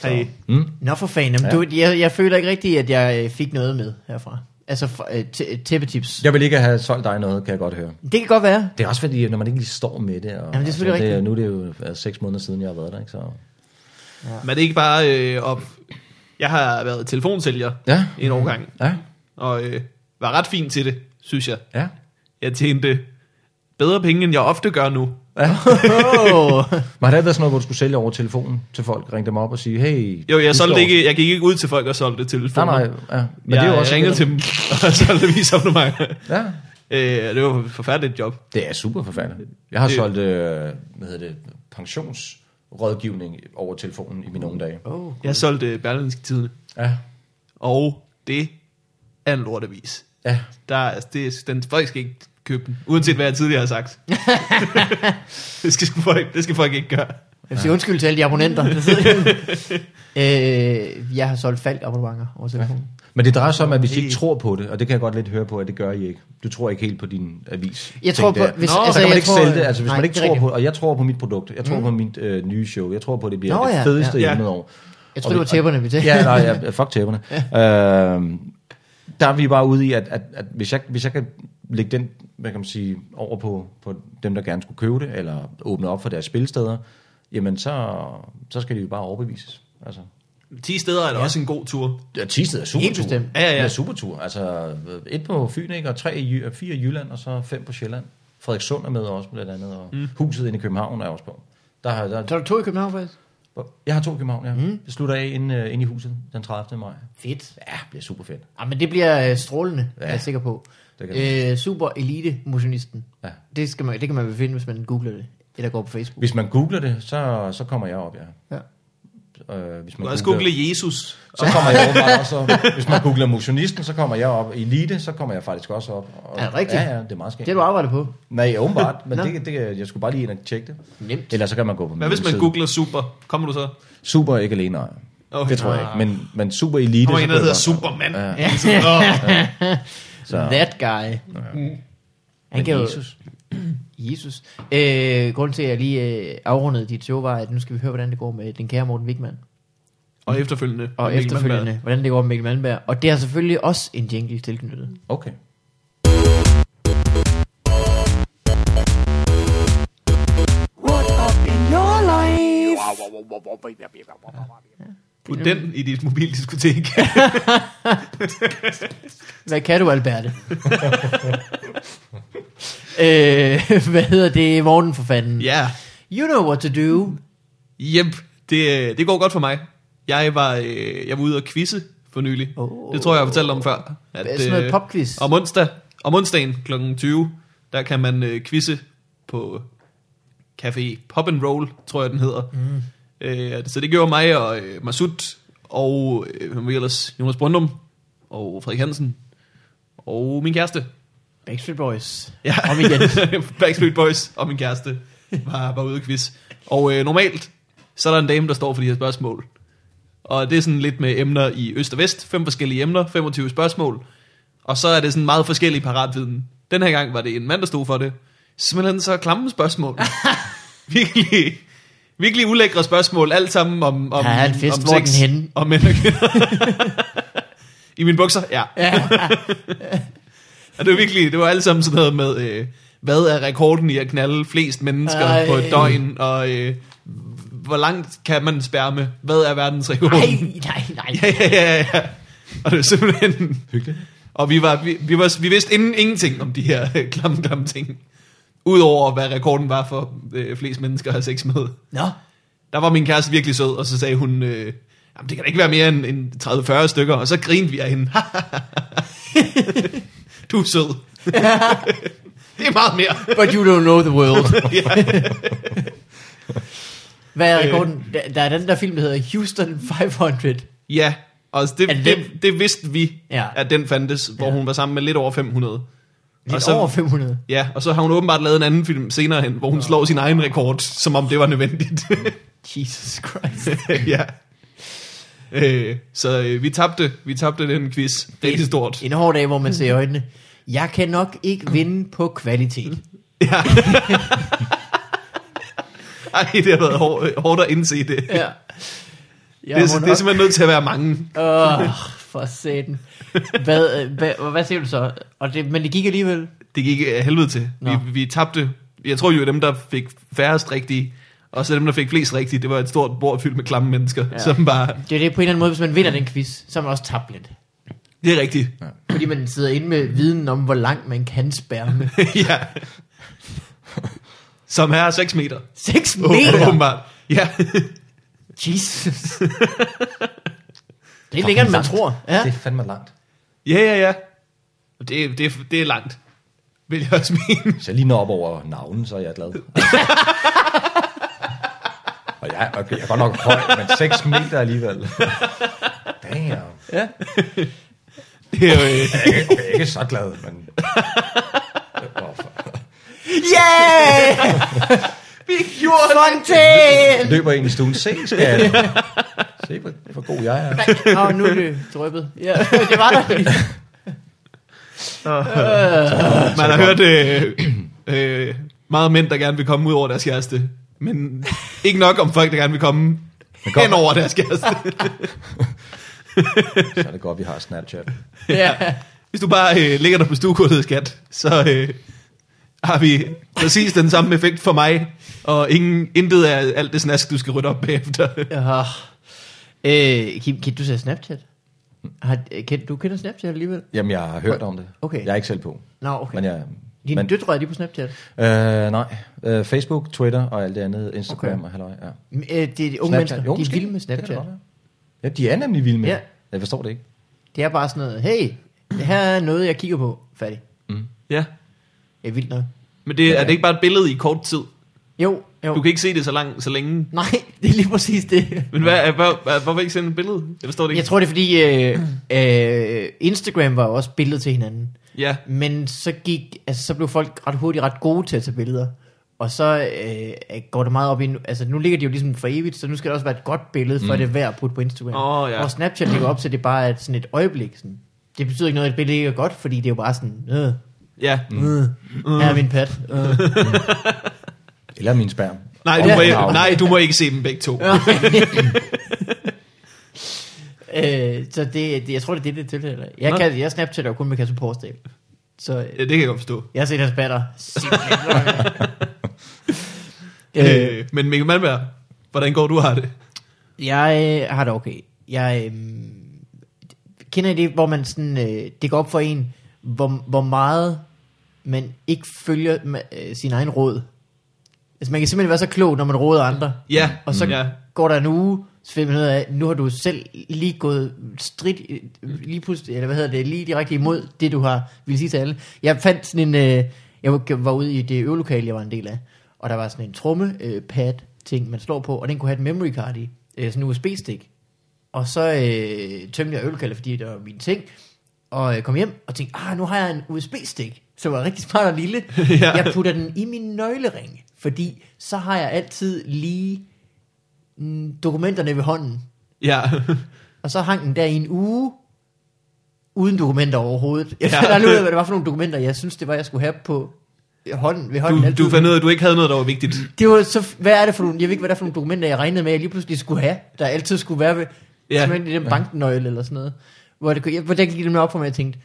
S2: Hey.
S1: Hmm?
S3: Nå for fanden. Jamen, Du, jeg, jeg føler ikke rigtigt, at jeg øh, fik noget med herfra. Altså for- øh, tæ- tæppetips.
S1: Jeg vil ikke have solgt dig noget, kan jeg godt høre.
S3: Det kan godt være.
S1: Det er også fordi, når man ikke lige står med det. Og,
S3: Jamen, det er selvfølgelig
S1: altså,
S3: rigtigt.
S1: Nu er det jo altså, seks måneder siden, jeg har været der. Ikke? Så.
S2: Men det er ikke bare øh, op. Jeg har været telefonsælger
S1: Ja.
S2: en årgang,
S1: Ja.
S2: og øh, var ret fin til det. synes jeg.
S1: Ja.
S2: Jeg tjente bedre penge, end jeg ofte gør nu.
S3: Oh.
S1: Var det været sådan noget, hvor du skulle sælge over telefonen til folk, ringe dem op og sige, hey...
S2: Jo,
S1: vi
S2: jeg, solgte
S1: står-
S2: ikke, jeg gik ikke ud til folk og solgte telefoner.
S1: Nej, nej, ja.
S2: Men jeg, det
S1: jo
S2: også ringede til dem og solgte vise abonnementer.
S1: Ja.
S2: Øh, det var et forfærdeligt job.
S1: Det er super forfærdeligt. Jeg har
S2: Det-
S1: solgt, øh, hvad hedder det, pensionsrådgivning over telefonen i mine unge dage.
S3: oh.
S2: Jeg solgte Berlinske Tidene,
S1: Ja.
S2: og det er en lortevis.
S1: Ja.
S2: Der, er- det, den, folk skal ikke købe den, uanset hvad jeg tidligere har sagt. det, skal sgu folk, det skal folk ikke gøre.
S3: Jeg vil sige undskyld til alle de abonnenter, der sidder øh, Jeg har solgt falk abonnementer over telefonen.
S1: Men det drejer sig om, at hvis I
S2: Helt-
S1: ikke tror på det, og det kan jeg godt lidt høre på, at det gør I ikke. Du tror ikke helt på din avis. ting
S3: Jeg tror på...
S1: der.
S3: Hvis,
S2: Nå,
S1: så kan man ikke
S3: tror-
S1: sælge det, altså hvis
S3: nej,
S1: man ikke
S3: det er
S1: tror
S3: rigtigt.
S1: på, og jeg tror på mit produkt, jeg tror på mit øh, nye show, jeg tror på, at det bliver
S3: Nå,
S1: Nå, det
S3: ja,
S1: fedeste
S2: Mm. ja.
S1: i
S2: Ja.
S1: 100 år.
S3: Jeg tror, det var
S1: Og-
S3: tæpperne, vi tænkte.
S1: Ja, nej, ja, fuck tæpperne. øhm, der er vi bare ude i, at, at, at hvis, jeg, hvis jeg kan lægge den, hvad kan man sige, over på, på dem, der gerne skulle købe det, eller åbne op for deres spilsteder, jamen så, så skal de jo bare overbevises. Altså,
S2: 10 steder er da ja. også en god tur.
S1: ja, Tisted er supertur.
S3: Helt bestemt.
S2: Ja, ja, ja.
S1: Det er supertur. Altså, et på Fyn, ikke? Og tre, i Jy- fire i Jylland, og så fem på Sjælland. Frederikssund er med også, blandt andet. Og mm. huset inde i København er også på. Der har, der,
S3: Så er der to i København, faktisk?
S1: jeg har to i København, ja. Mm. Jeg slutter af inde, øh, inde i huset den 30. maj.
S3: Fedt.
S1: Ja, det bliver super fedt.
S3: Ja, men det bliver øh, strålende, ja.
S1: Ja.
S3: er jeg sikker på.
S1: Det kan
S3: Øh, super elite motionisten.
S1: Ja.
S3: Det, skal man, det kan man finde, hvis man googler det, eller går på Facebook.
S1: Hvis man googler det, så, så kommer jeg op, ja.
S3: Ja.
S1: Øh, hvis
S2: Du
S1: man
S2: kan også google Jesus.
S1: Så kommer jeg op også op. Hvis man googler motionisten, så kommer jeg op. Elite, så kommer jeg faktisk også op. Og,
S3: Er det rigtigt?
S1: Ja, ja, det er meget skægt.
S3: Det har du arbejdet på.
S1: Nej, åbenbart, men
S3: Nå.
S1: det, det, jeg skulle bare lige ind og tjekke det.
S3: Nemt.
S1: Ellers så kan man gå på min
S2: Hvad hvis man
S1: hjemmeside.
S2: googler super? Kommer du så?
S1: Super ikke alene, nej.
S2: Okay.
S1: Okay. Det tror jeg ikke. Men, men super elite.
S2: Kommer
S1: så
S2: en, der
S1: ved
S2: hedder
S1: jeg godt.
S2: Superman.
S1: Ja.
S2: Ja. Ja.
S1: Så,
S3: That guy. Ja. Han kan jo... Jesus. Jesus. Øh, grunden til, at jeg lige øh, afrundede dit show, var, at nu skal vi høre, hvordan det går med den kære Morten Wigman.
S2: Og efterfølgende.
S3: Og
S2: Mikkel
S3: efterfølgende,
S2: Malmberg.
S3: hvordan det går med Mikkel Malmberg. Og det har selvfølgelig også en jingle tilknyttet.
S1: okay.
S4: What up in your life?
S2: Put den i dit mobildiskotek.
S3: Hvad kan du, Alberte? øh, hvad hedder det? Morten for fanden.
S2: ja.
S3: You know what to do.
S2: Jep, det, øh, det går godt for mig. Jeg var, øh, jeg var ude og quizze for nylig.
S3: Oh.
S2: Oh. Det tror jeg, jeg fortalte om før. At,
S3: Sådan noget
S2: øh,
S3: popquiz.
S2: Om, onsdag, om onsdagen kl. 20, der kan man øh, quizze på Café Pop and Roll, tror jeg den hedder. Mm. Øh, så det gjorde mig og øh, Masud og øh, hvem var vi ellers, Jonas Brøndum og Frederik Hansen og min kæreste.
S3: Backstreet Boys.
S2: Ja.
S3: Om igen.
S2: Backstreet Boys og min kæreste var, var ude i quiz. Og øh, normalt, så er der en dame, der står for de her spørgsmål. Og det er sådan lidt med emner i øst og vest. Fem forskellige emner, 25 spørgsmål. Og så er det sådan meget forskellig paratviden. Den her gang var det en mand, der stod for det. Simpelthen så klamme spørgsmål. virkelig, virkelig ulækre spørgsmål. Alt sammen om, om,
S3: Der er en fest,
S2: om
S3: hvor er
S2: sex,
S3: den henne?
S2: Om mænd og kvinder. I mine bukser, ja.
S3: ja.
S2: Ja, det var virkelig, det var alt sammen sådan noget med, øh, hvad er rekorden i at knalde flest mennesker
S3: Ej.
S2: Ej. på et døgn, og øh, hvor langt kan man spærme, hvad er verdensrekorden?
S3: Nej, nej, nej.
S2: Ja, ja, ja, ja. Og det var simpelthen... Hyggeligt. Og vi, var, vi, vi, var, vi vidste inden, ingenting om de her øh, klamme, klamme ting. Udover hvad rekorden var for øh, flest mennesker at have sex med.
S3: Nå.
S2: Der var min kæreste virkelig sød, og så sagde hun, øh, jamen det kan da ikke være mere end, end 30-40 stykker, og så grinede vi af hende. du er sød. det er meget mere.
S3: But you don't know the world.
S2: ja. Øh.
S3: Hvad er rekorden? Der, der er den der film, der hedder Houston 500.
S2: ja, og det,
S3: Er det
S2: det,
S3: den?
S2: det, det vidste vi,
S3: Ja.
S2: ja. at den fandtes, hvor
S3: Ja.
S2: ja. hun var sammen med lidt over 500.
S3: Lidt
S2: og så,
S3: over 500.
S2: Ja, og så har hun åbenbart lavet en anden film senere hen, hvor hun slår sin egen rekord, som om det var nødvendigt.
S3: Jesus Christ.
S2: ja. Øh, så øh, vi tabte, vi tabte den quiz. Det er stort. Mm.
S3: En hård dag, hvor man ser i øjnene. Jeg kan nok ikke vinde på kvalitet.
S2: Ja. Ej, det har været hår, hårdt at indse det. Ja,
S3: Ja. Jeg
S2: det,
S3: må
S2: er, det er
S3: nok-
S2: simpelthen nødt til at være mange.
S3: Åh, for satan. Hvad, øh, hvad, hvad siger du så? Og det, men det gik alligevel.
S2: Det gik af helvede til. Vi,
S3: Nå.
S2: vi tabte. Jeg tror jo, at dem, der fik færrest rigtige, og så dem, der fik flest rigtige, det var et stort bord fyldt med klamme mennesker,
S3: Ja.
S2: ja. som bare...
S3: Det er det på en eller anden måde, hvis man vinder den quiz, så er man også tabt lidt.
S2: Det er rigtigt. Ja.
S3: fordi man sidder inde med viden om, hvor langt man kan spærme.
S2: ja. Som her er 6 meter.
S3: 6
S2: Åh,
S3: meter!
S2: Åbenbart. Ja.
S3: Jesus. Det er længere, end man
S1: langt.
S3: tror.
S1: Ja. Det
S3: Ja.
S1: er fandme langt.
S2: Ja, ja, ja. Det, det, det er langt, vil jeg også mene.
S1: Hvis jeg lige når op over navnen, så er jeg glad. og jeg, okay, jeg er godt nok høj, men 6 meter alligevel. Damn. Jeg
S2: Det er jo, øh,
S1: er ikke, okay, jeg er ikke så glad, men... Åh, for-
S3: Yeah!
S2: vi gjorde
S3: Fontaine!
S1: Løber ind i stuen. Se, skat. Se, hvor, hvor god jeg er.
S3: Nå, nu er det drøbet. Ja, det var der.
S2: Man har hørt øh, øh, meget om mænd, der gerne vil komme ud over deres kæreste. Men ikke nok om folk, der gerne vil komme
S1: kom.
S2: hen over deres kæreste.
S1: Så er det godt, vi har Snapchat.
S3: Ja.
S2: Hvis du bare øh, ligger dig på stuegulvet, skat, så øh, har vi præcis den samme effekt for mig. Og ingen, intet af alt det snask, du skal rydde op bagefter.
S3: Ja. Øh, Kim, kan du se Snapchat? Har, øh, kan, du kender Snapchat alligevel?
S1: Jamen, jeg har hørt om det.
S3: Okay.
S1: Jeg er ikke selv på.
S3: Nå, okay.
S1: Men jeg...
S3: Dine
S1: men,
S3: døtre er lige på Snapchat.
S1: øh, nej. Øh, Facebook, Twitter og alt det andet. Instagram
S3: Okay.
S1: og halløj. Ja.
S3: Mm, øh, Det er de unge mennesker, de er
S1: måske.
S3: vilde med
S1: Det kan det
S3: Snapchat.
S1: godt være. Ja, de er nemlig vilde med
S3: Ja.
S1: det. Jeg forstår det ikke.
S3: Det er bare sådan noget, hey, det her er noget, jeg kigger på. Færdig.
S2: Ja,
S3: Det er vildt nok.
S2: men det, er det ikke bare et billede i kort tid?
S3: Jo, jo.
S2: Du kan ikke se det så, lang, så længe.
S3: Nej, det er lige præcis det.
S2: Men hvad, hvad, hvad, hvorfor ikke sende et billede? Jeg forstår det ikke.
S3: Jeg tror, det er fordi, øh, øh, Instagram var jo også billeder til hinanden.
S2: Ja,
S3: Men så, gik, altså, så blev folk ret hurtigt ret gode til at tage billeder. Og så øh, går det meget op i, nu- altså nu ligger det jo ligesom for evigt, så nu skal der også være et godt billede, for mm. det er værd at putte på Instagram.
S2: Åh, ja.
S3: Og Snapchat ligger op til, at det bare er sådan et øjeblik. Sådan. Det betyder ikke noget, at et billede ikke er godt, fordi det er jo bare sådan, øh,
S2: ja.
S3: øh,
S2: Mm.
S3: her er min pat. Øh.
S1: Eller min sperm.
S2: Nej,
S1: Og
S2: du, må,
S1: mit
S2: ikke-
S1: navn.
S2: nej, du må ikke se dem begge to.
S3: øh, så det, det, jeg tror, det er det, det tilfælde. Jeg,
S2: Nå.
S3: kan, jeg Snapchatter jo kun med Kasper Porsdal. Så øh,
S2: Ja, det kan jeg godt forstå.
S3: jeg har set hans batter. øh,
S2: Øh. Men Mikkel Malmberg, hvordan går du har det?
S3: Jeg øh, har det okay. Jeg øh, kender I det, hvor man sådan, øh, det går op for en, hvor, hvor meget man ikke følger ma- øh, sin egen råd. Altså man kan simpelthen være så klog, når man råder andre.
S2: Ja,
S3: Og så
S2: ja.
S3: går der en uge, så finder man ud af, nu har du selv lige gået stridt, øh, lige pludselig, eller hvad hedder det, lige direkte imod det, du har ville sige til alle. Jeg fandt sådan en, øh, jeg var- var ude i det øvelokale, jeg var en del af, og der var sådan en tromme øh, pad ting, man slår på, og den kunne have et memory card i, øh, sådan en USB-stik. Og så øh, tømte jeg ølkaldet, fordi det var mine ting. Og øh, kom hjem og tænkte, ah, nu har jeg en USB-stik, som var rigtig smart og lille.
S2: Ja.
S3: ja. Jeg putter den i min nøglering, fordi så har jeg altid lige mm, dokumenterne ved hånden.
S2: Ja,
S3: Og så hang den der i en uge, uden dokumenter overhovedet. Jeg
S2: Ja.
S3: ja. fandt aldrig ud af, hvad det var for nogle dokumenter, jeg synes, det var, jeg skulle have på hånden, ved hånden.
S2: du,
S3: altid.
S2: du fandt ud af, at du ikke havde noget, der var vigtigt.
S3: Det var så, hvad er det for nogle, jeg ved ikke, hvad det er for nogle dokumenter, jeg regnede med, jeg lige pludselig skulle have, der altid skulle være ved,
S2: Ja.
S3: ja. simpelthen i den banknøgle eller sådan noget. Hvor det, kunne- jeg, hvor der gik det mig op for mig, jeg tænkte,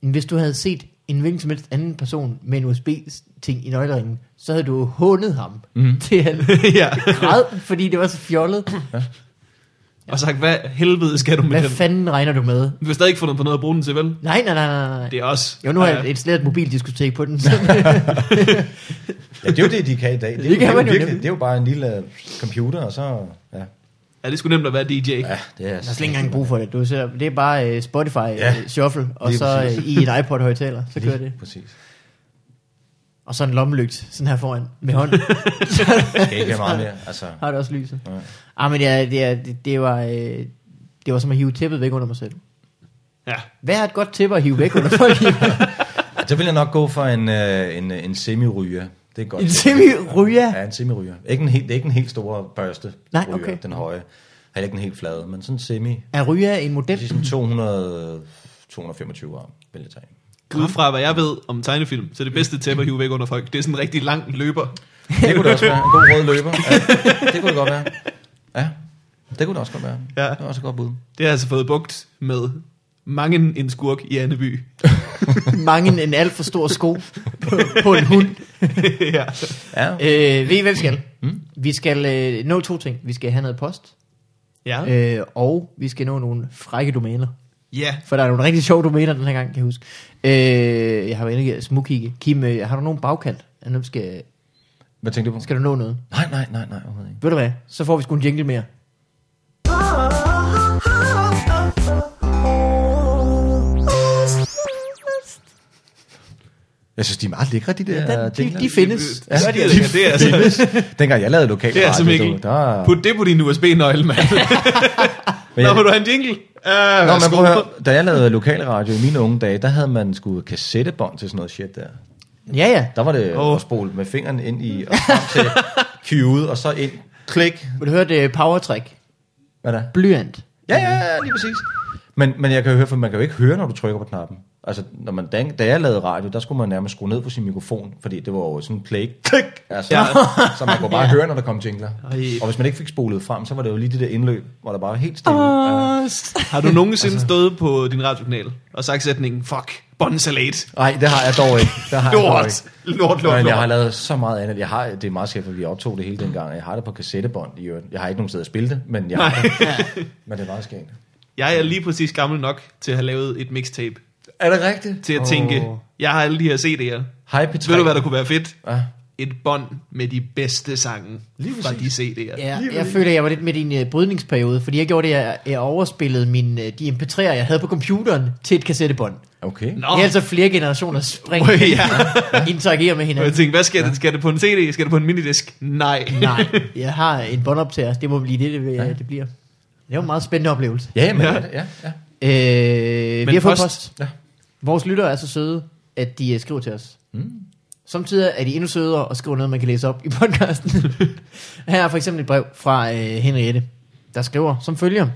S3: "Men hvis du havde set en hvilken som helst anden person med en USB-ting i nøgleringen, så havde du jo hånet ham mm.
S2: Mhm.
S3: til han
S2: ja.
S3: græd, fordi det var så fjollet.
S2: Og sagt, hvad helvede skal du med
S3: Hvad
S2: den?
S3: fanden regner du med?
S2: Du har stadig ikke fundet på noget at bruge den til, vel?
S3: Nej, nej, nej, nej, nej.
S2: Det er også...
S3: Jo, nu har jeg
S2: Ja.
S3: et slet mobildiskotek på den.
S1: Ja, det er jo det, de kan i dag. Det, er
S3: Det kan
S1: jo,
S3: man
S1: det, er jo
S3: jo
S1: virkelig,
S3: nemlig.
S1: det er jo bare en lille øh, computer, og så... Ja,
S2: Ja, det skulle nemt at være DJ.
S1: ja det er...
S3: Der er slet ikke engang brug for det. Du ser, det er bare uh, Spotify
S1: Ja.
S3: ja. Shuffle, og
S1: Lige
S3: så
S1: præcis.
S3: uh, i en iPod-højtaler, så kører det.
S1: Præcis.
S3: Og så en lommelygt, sådan her foran, med hånden.
S1: Det skal ikke have meget mere. Altså,
S3: Har det også lyset.
S1: Ja.
S3: Ah, men ja, det, er- det, det, var, øh, det var som at hive tæppet væk under mig selv.
S2: Ja.
S3: Hvad er et godt tæppe at hive væk under folk?
S1: så vil jeg nok gå for en, øh, en, øh, en semi-ryger. Det er godt.
S3: en semi-ryger.
S1: Ja, en semi-ryger. Ikke en helt, det er ikke en helt stor børste.
S3: Nej,
S1: ryger,
S3: okay.
S1: Den høje. Heller ikke en helt flade, men sådan en semi.
S3: Er ryger en
S1: Det
S3: model?
S1: er sådan 200, 225 gram, vil jeg tage.
S2: Ud fra hvad jeg ved om tegnefilm, så er det bedste tæppe at hive væk under folk, det er sådan en rigtig lang løber.
S1: Det kunne det også være. En god rød løber. Ja, det kunne det godt være. Ja, det kunne det også godt være.
S2: Ja.
S1: Det var også et godt bud.
S2: Det har altså fået bugt med mange en skurk i Anneby.
S3: Mange en alt for stor sko på, på en hund.
S2: ja.
S1: Ja,
S3: Øh, ved I, hvad vi skal?
S1: Hmm?
S3: Vi skal øh, nå to ting. Vi skal have noget post,
S2: ja.
S3: øh, og vi skal nå nogle frække domæner.
S2: Ja.
S3: For der er nogle rigtig sjove domæner den her gang, kan jeg huske. Øh, jeg har været inde og smugkigge. Kim, øh, har du nogen bagkant? Er du Skal,
S1: Hvad tænkte du på?
S3: skal du nå noget?
S1: Nej, nej, nej, nej, overhovedet ikke.
S3: Ved du hvad? Så får vi sgu en jingle mere.
S1: Jeg synes, de er meget lækre, de der
S3: Ja, den, de,
S1: jingler.
S3: de findes.
S2: Ja, det, er, det, er, altså,
S1: Dengang jeg lavede lokal
S2: det er altså
S1: radio,
S2: Mikkel.
S1: du, der...
S2: Put det på din USB-nøgle, mand.
S1: Ah. Men
S2: Nå,
S1: jeg-
S2: må du have en jingle? Uh,
S1: Nå, men prøv at høre, da jeg lavede lokalradio i mine unge dage, der havde man sgu kassettebånd til sådan noget shit der.
S3: Ja, ja.
S1: Der var det
S2: Åh.
S1: oh. at spole med fingeren ind i, og frem til Q'et, og så ind, klik.
S3: Vil du høre det powertrick?
S1: Hvad der?
S3: Blyant.
S1: Ja, ja, ja, lige præcis. Men, men jeg kan jo høre, for man kan jo ikke høre, når du trykker på knappen. Altså, når man, da, da jeg lavede radio, der skulle man nærmest skrue ned på sin mikrofon, fordi det var jo sådan en play, klik, altså,
S2: Ja.
S1: ja. så man kunne bare høre, når der kom jingler.
S2: Ej.
S1: Og hvis man ikke fik spolet frem, så var det jo lige det der indløb, hvor der bare var helt stille. Ja.
S2: Har du nogensinde
S1: Altså.
S2: stået på din radiokanal og sagt sætningen, fuck, bondesalat,
S1: Nej, det har jeg dog ikke. Det har jeg dog ikke.
S2: lort, lort, lort,
S1: Men jeg har
S2: lort.
S1: lavet så meget andet. Jeg har, det er meget skæft, at vi optog det hele dengang. Jeg har det på kassettebånd i øvrigt. Jeg har ikke nogen steder at spille det, men jeg har det. Men det er meget skægt.
S2: Jeg er lige præcis gammel nok til at have lavet et mixtape,
S1: Er det rigtigt?
S2: til at tænke, jeg har alle de her CD'er.
S1: Hej P3.
S2: Ved du, hvad der kunne være fedt?
S1: Ja.
S2: Et bånd med de bedste sange
S1: Lige
S2: fra de
S1: præcis.
S2: CD'er.
S3: Ja, jeg føler, jeg var lidt midt i en uh, brydningsperiode, fordi jeg gjorde det, jeg, jeg overspillede min, uh, de mp3'er, jeg havde på computeren, til et kassettebånd.
S1: Okay.
S2: Nå,
S3: Oh. Det er altså flere generationer spring,
S2: Ui, ja.
S3: interagerer med
S2: og jeg
S3: hinanden.
S2: tænkte, hvad skal det? Skal det på en CD? Skal det på en minidisk? Nej.
S3: Nej, jeg har en båndoptager, det må blive det, det, det, det bliver. Det var en meget spændende oplevelse.
S1: Ja, men
S2: Ja.
S1: ja. Det, ja, ja.
S3: Øh, vi
S2: Men
S3: har fået
S2: post.
S3: post. post.
S1: Ja.
S3: Vores lyttere er så søde, at de øh, skriver til os. Mm. Samtidig er de endnu sødere og skriver noget, man kan læse op i podcasten. Her er for eksempel et brev fra øh, Henriette, der skriver som følger.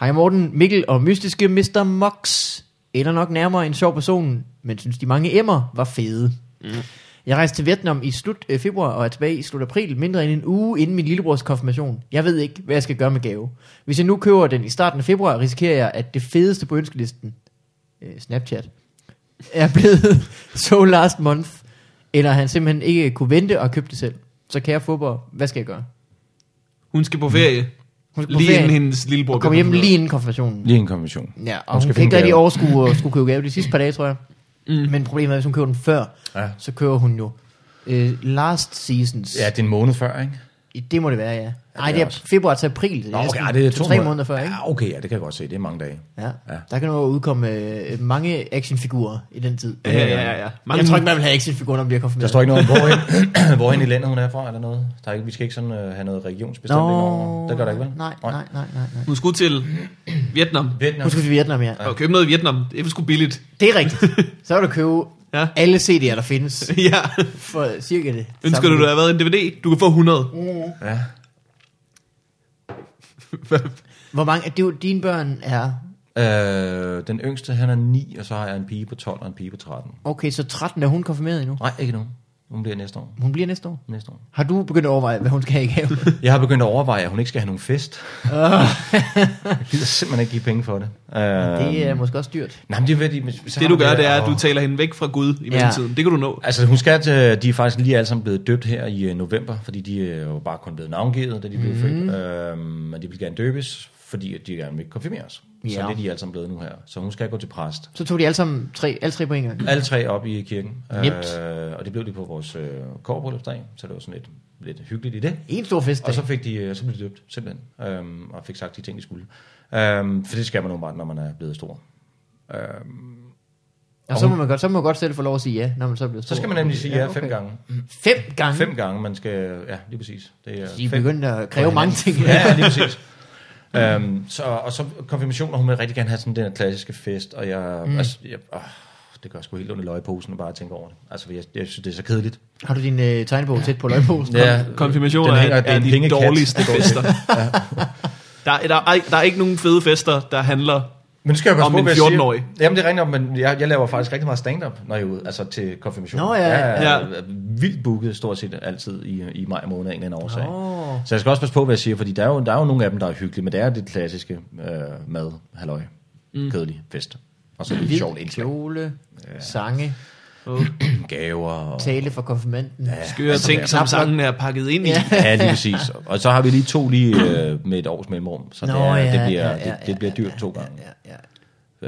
S3: Hej Morten, Mikkel og mystiske Mr. Mox. Eller nok nærmere en sjov person, men synes de mange emmer var fede. Mm. Jeg rejste til Vietnam i slut øh, februar og er tilbage i slut april, mindre end en uge inden min lillebrors konfirmation. Jeg ved ikke, hvad jeg skal gøre med gave. Hvis jeg nu køber den i starten af februar, risikerer jeg, at det fedeste på ønskelisten, øh, Snapchat, er blevet so last month, eller han simpelthen ikke kunne vente og købe det selv. Så kære fodbold, hvad skal jeg gøre?
S2: Hun skal på ferie.
S3: Hun skal på
S2: Lige
S3: ferie.
S2: inden hendes lillebror
S3: Hun kommer hjem lige inden konfirmationen.
S1: Lige en konvention.
S3: Ja, og
S1: Hun
S3: hun,
S1: skal
S3: hun kan ikke
S1: finde
S3: rigtig
S1: gave.
S3: overskue at skulle købe gave de sidste par dage, tror jeg. Mm. Men problemet er, hvis hun køber den før,
S1: Ja.
S3: så kører hun jo øh, last seasons.
S1: Ja, det er en måned før, ikke?
S3: Det må det være, ja. Nej,
S1: er
S3: det er
S1: også.
S3: februar til april. Det er,
S1: Nå, okay,
S3: næsten
S1: ja, det er to,
S3: tre måneder før, ikke?
S1: Ja, okay, ja, det kan jeg godt se. Det er mange dage.
S3: Ja.
S1: Ja.
S3: Der kan jo udkomme øh, mange actionfigurer i den tid.
S2: Ja, ja, ja. ja.
S3: Mange... Jeg tror ikke, man vil have actionfigurer, når man bliver
S1: Der
S3: konfirmeret.
S1: står ikke noget om, hvorhen, hvorhen i landet hun er fra, eller noget. Der er ikke, vi skal ikke sådan, øh, have noget regionsbestemt
S3: Nå,
S1: over. Det gør der ikke, vel?
S3: Nej, nej, nej, nej. nej.
S2: Hun skulle til Vietnam.
S1: Vietnam.
S3: Nu skal vi til Vietnam, ja.
S2: Og købe noget i Vietnam. Det er sgu billigt.
S3: Det er rigtigt. Så vil du købe
S2: Ja.
S3: ja. alle CD'er, der findes,
S2: ja.
S3: for cirka det.
S2: Ønsker
S3: samme
S2: du,
S3: beløb.
S2: der havde været en DVD? Du kan få 100.
S1: Ja.
S3: Hvor mange af de, dine børn er...
S1: Øh, den yngste, han er 9, og så har jeg en pige på 12 og en pige på 13.
S3: Okay, så 13 er hun konfirmeret endnu.
S1: Nej, ikke nu. Hun bliver næste år.
S3: Hun bliver næste år.
S1: Næste år.
S3: Har du begyndt at overveje, hvad hun skal have i gave?
S1: Jeg har begyndt at overveje, at hun ikke skal have nogen fest.
S3: Ah.
S1: jeg gider simpelthen ikke give penge for det. Øh,
S3: det er måske også dyrt.
S1: Nej, men det er fordi, hvis- så
S2: Det
S1: har
S2: du
S1: hun
S2: gør, det er, at
S1: og-
S2: du taler hende væk fra Gud i mellemtiden. Det kan du nå.
S1: Altså, hun skal til, de er faktisk lige alle sammen blevet døbt her i øh, november, fordi de er jo bare kun blevet navngivet, da de blev mm.
S3: Mhm.
S1: født. Øh, men de vil gerne døbes, fordi at de gerne vil konfirmeres. Ja. Så
S3: Ja.
S1: det er de alle sammen blevet nu her. Så hun skal gå til præst.
S3: Så tog de alle sammen tre, alle tre på en gang.
S1: Alle tre op i kirken.
S3: Nemt.
S1: Øh, og det blev de på vores øh, kårbrøllupsdag, så det var sådan lidt, lidt hyggeligt i det.
S3: En stor fest.
S1: Og så, fik de, øh, så blev de døbt, simpelthen, øhm, og fik sagt de ting, de skulle. Øhm, for det skal man åbenbart, når man er blevet stor.
S3: og så, må man godt, så må man godt selv få lov at sige ja, når man så bliver stor.
S1: Så skal man nemlig sige ja,
S3: okay. Mhm.
S1: fem gange.
S3: Fem gange?
S1: Fem gange, man skal... Ja, lige præcis. Det er
S3: De er
S1: fem-
S3: begyndt at kræve mange ting.
S1: Ja, ja, lige præcis. øhm, så, og så konfirmationer, hun vil rigtig gerne have sådan den her klassiske fest, og jeg, mm. altså, jeg åh, det gør sgu helt under løgposen at bare tænke over det. Altså, jeg, jeg synes, det er så kedeligt.
S3: Har du din øh, tegnebog tæt på løgposen?
S2: Konfirmationer
S1: den hænger-
S2: er,
S1: det er
S2: er
S1: en
S2: de
S1: pengekat.
S2: dårligste fester. Der, er- der, er, ikke- der er ikke nogen fede fester, der handler...
S1: Men det skal jeg passe
S2: Om
S1: på,
S2: en
S1: hvad jeg siger.
S2: 14-årig.
S1: Jamen, det er rigtigt, nok, men jeg, jeg laver faktisk rigtig meget stand-up, når jeg er ude, altså til konfirmation.
S3: Nå, ja,
S1: Jeg er
S2: ja.
S1: vildt booket stort set altid i, i maj måned af en eller anden årsag.
S3: Nå.
S1: Så jeg skal også passe på, hvad jeg siger, fordi der er jo, der er jo nogle af dem, der er hyggelige, men det er det klassiske øh, mad, halløj, mm. kedelig fest. Og så er det
S3: Hvid
S1: et sjovt indslag.
S3: kjole, sange,
S1: Gaver og...
S3: tale for konfirmanden. Ja.
S2: Skøre ting, som
S3: knap nok-
S2: sangen er pakket ind i.
S3: Ja.
S1: ja, lige præcis. Og så har vi lige to lige øh, med et års mellemrum, så det,
S3: Nå,
S1: er,
S3: ja,
S1: det, bliver,
S3: ja, ja,
S1: det, det bliver dyrt to gange.
S3: Ja,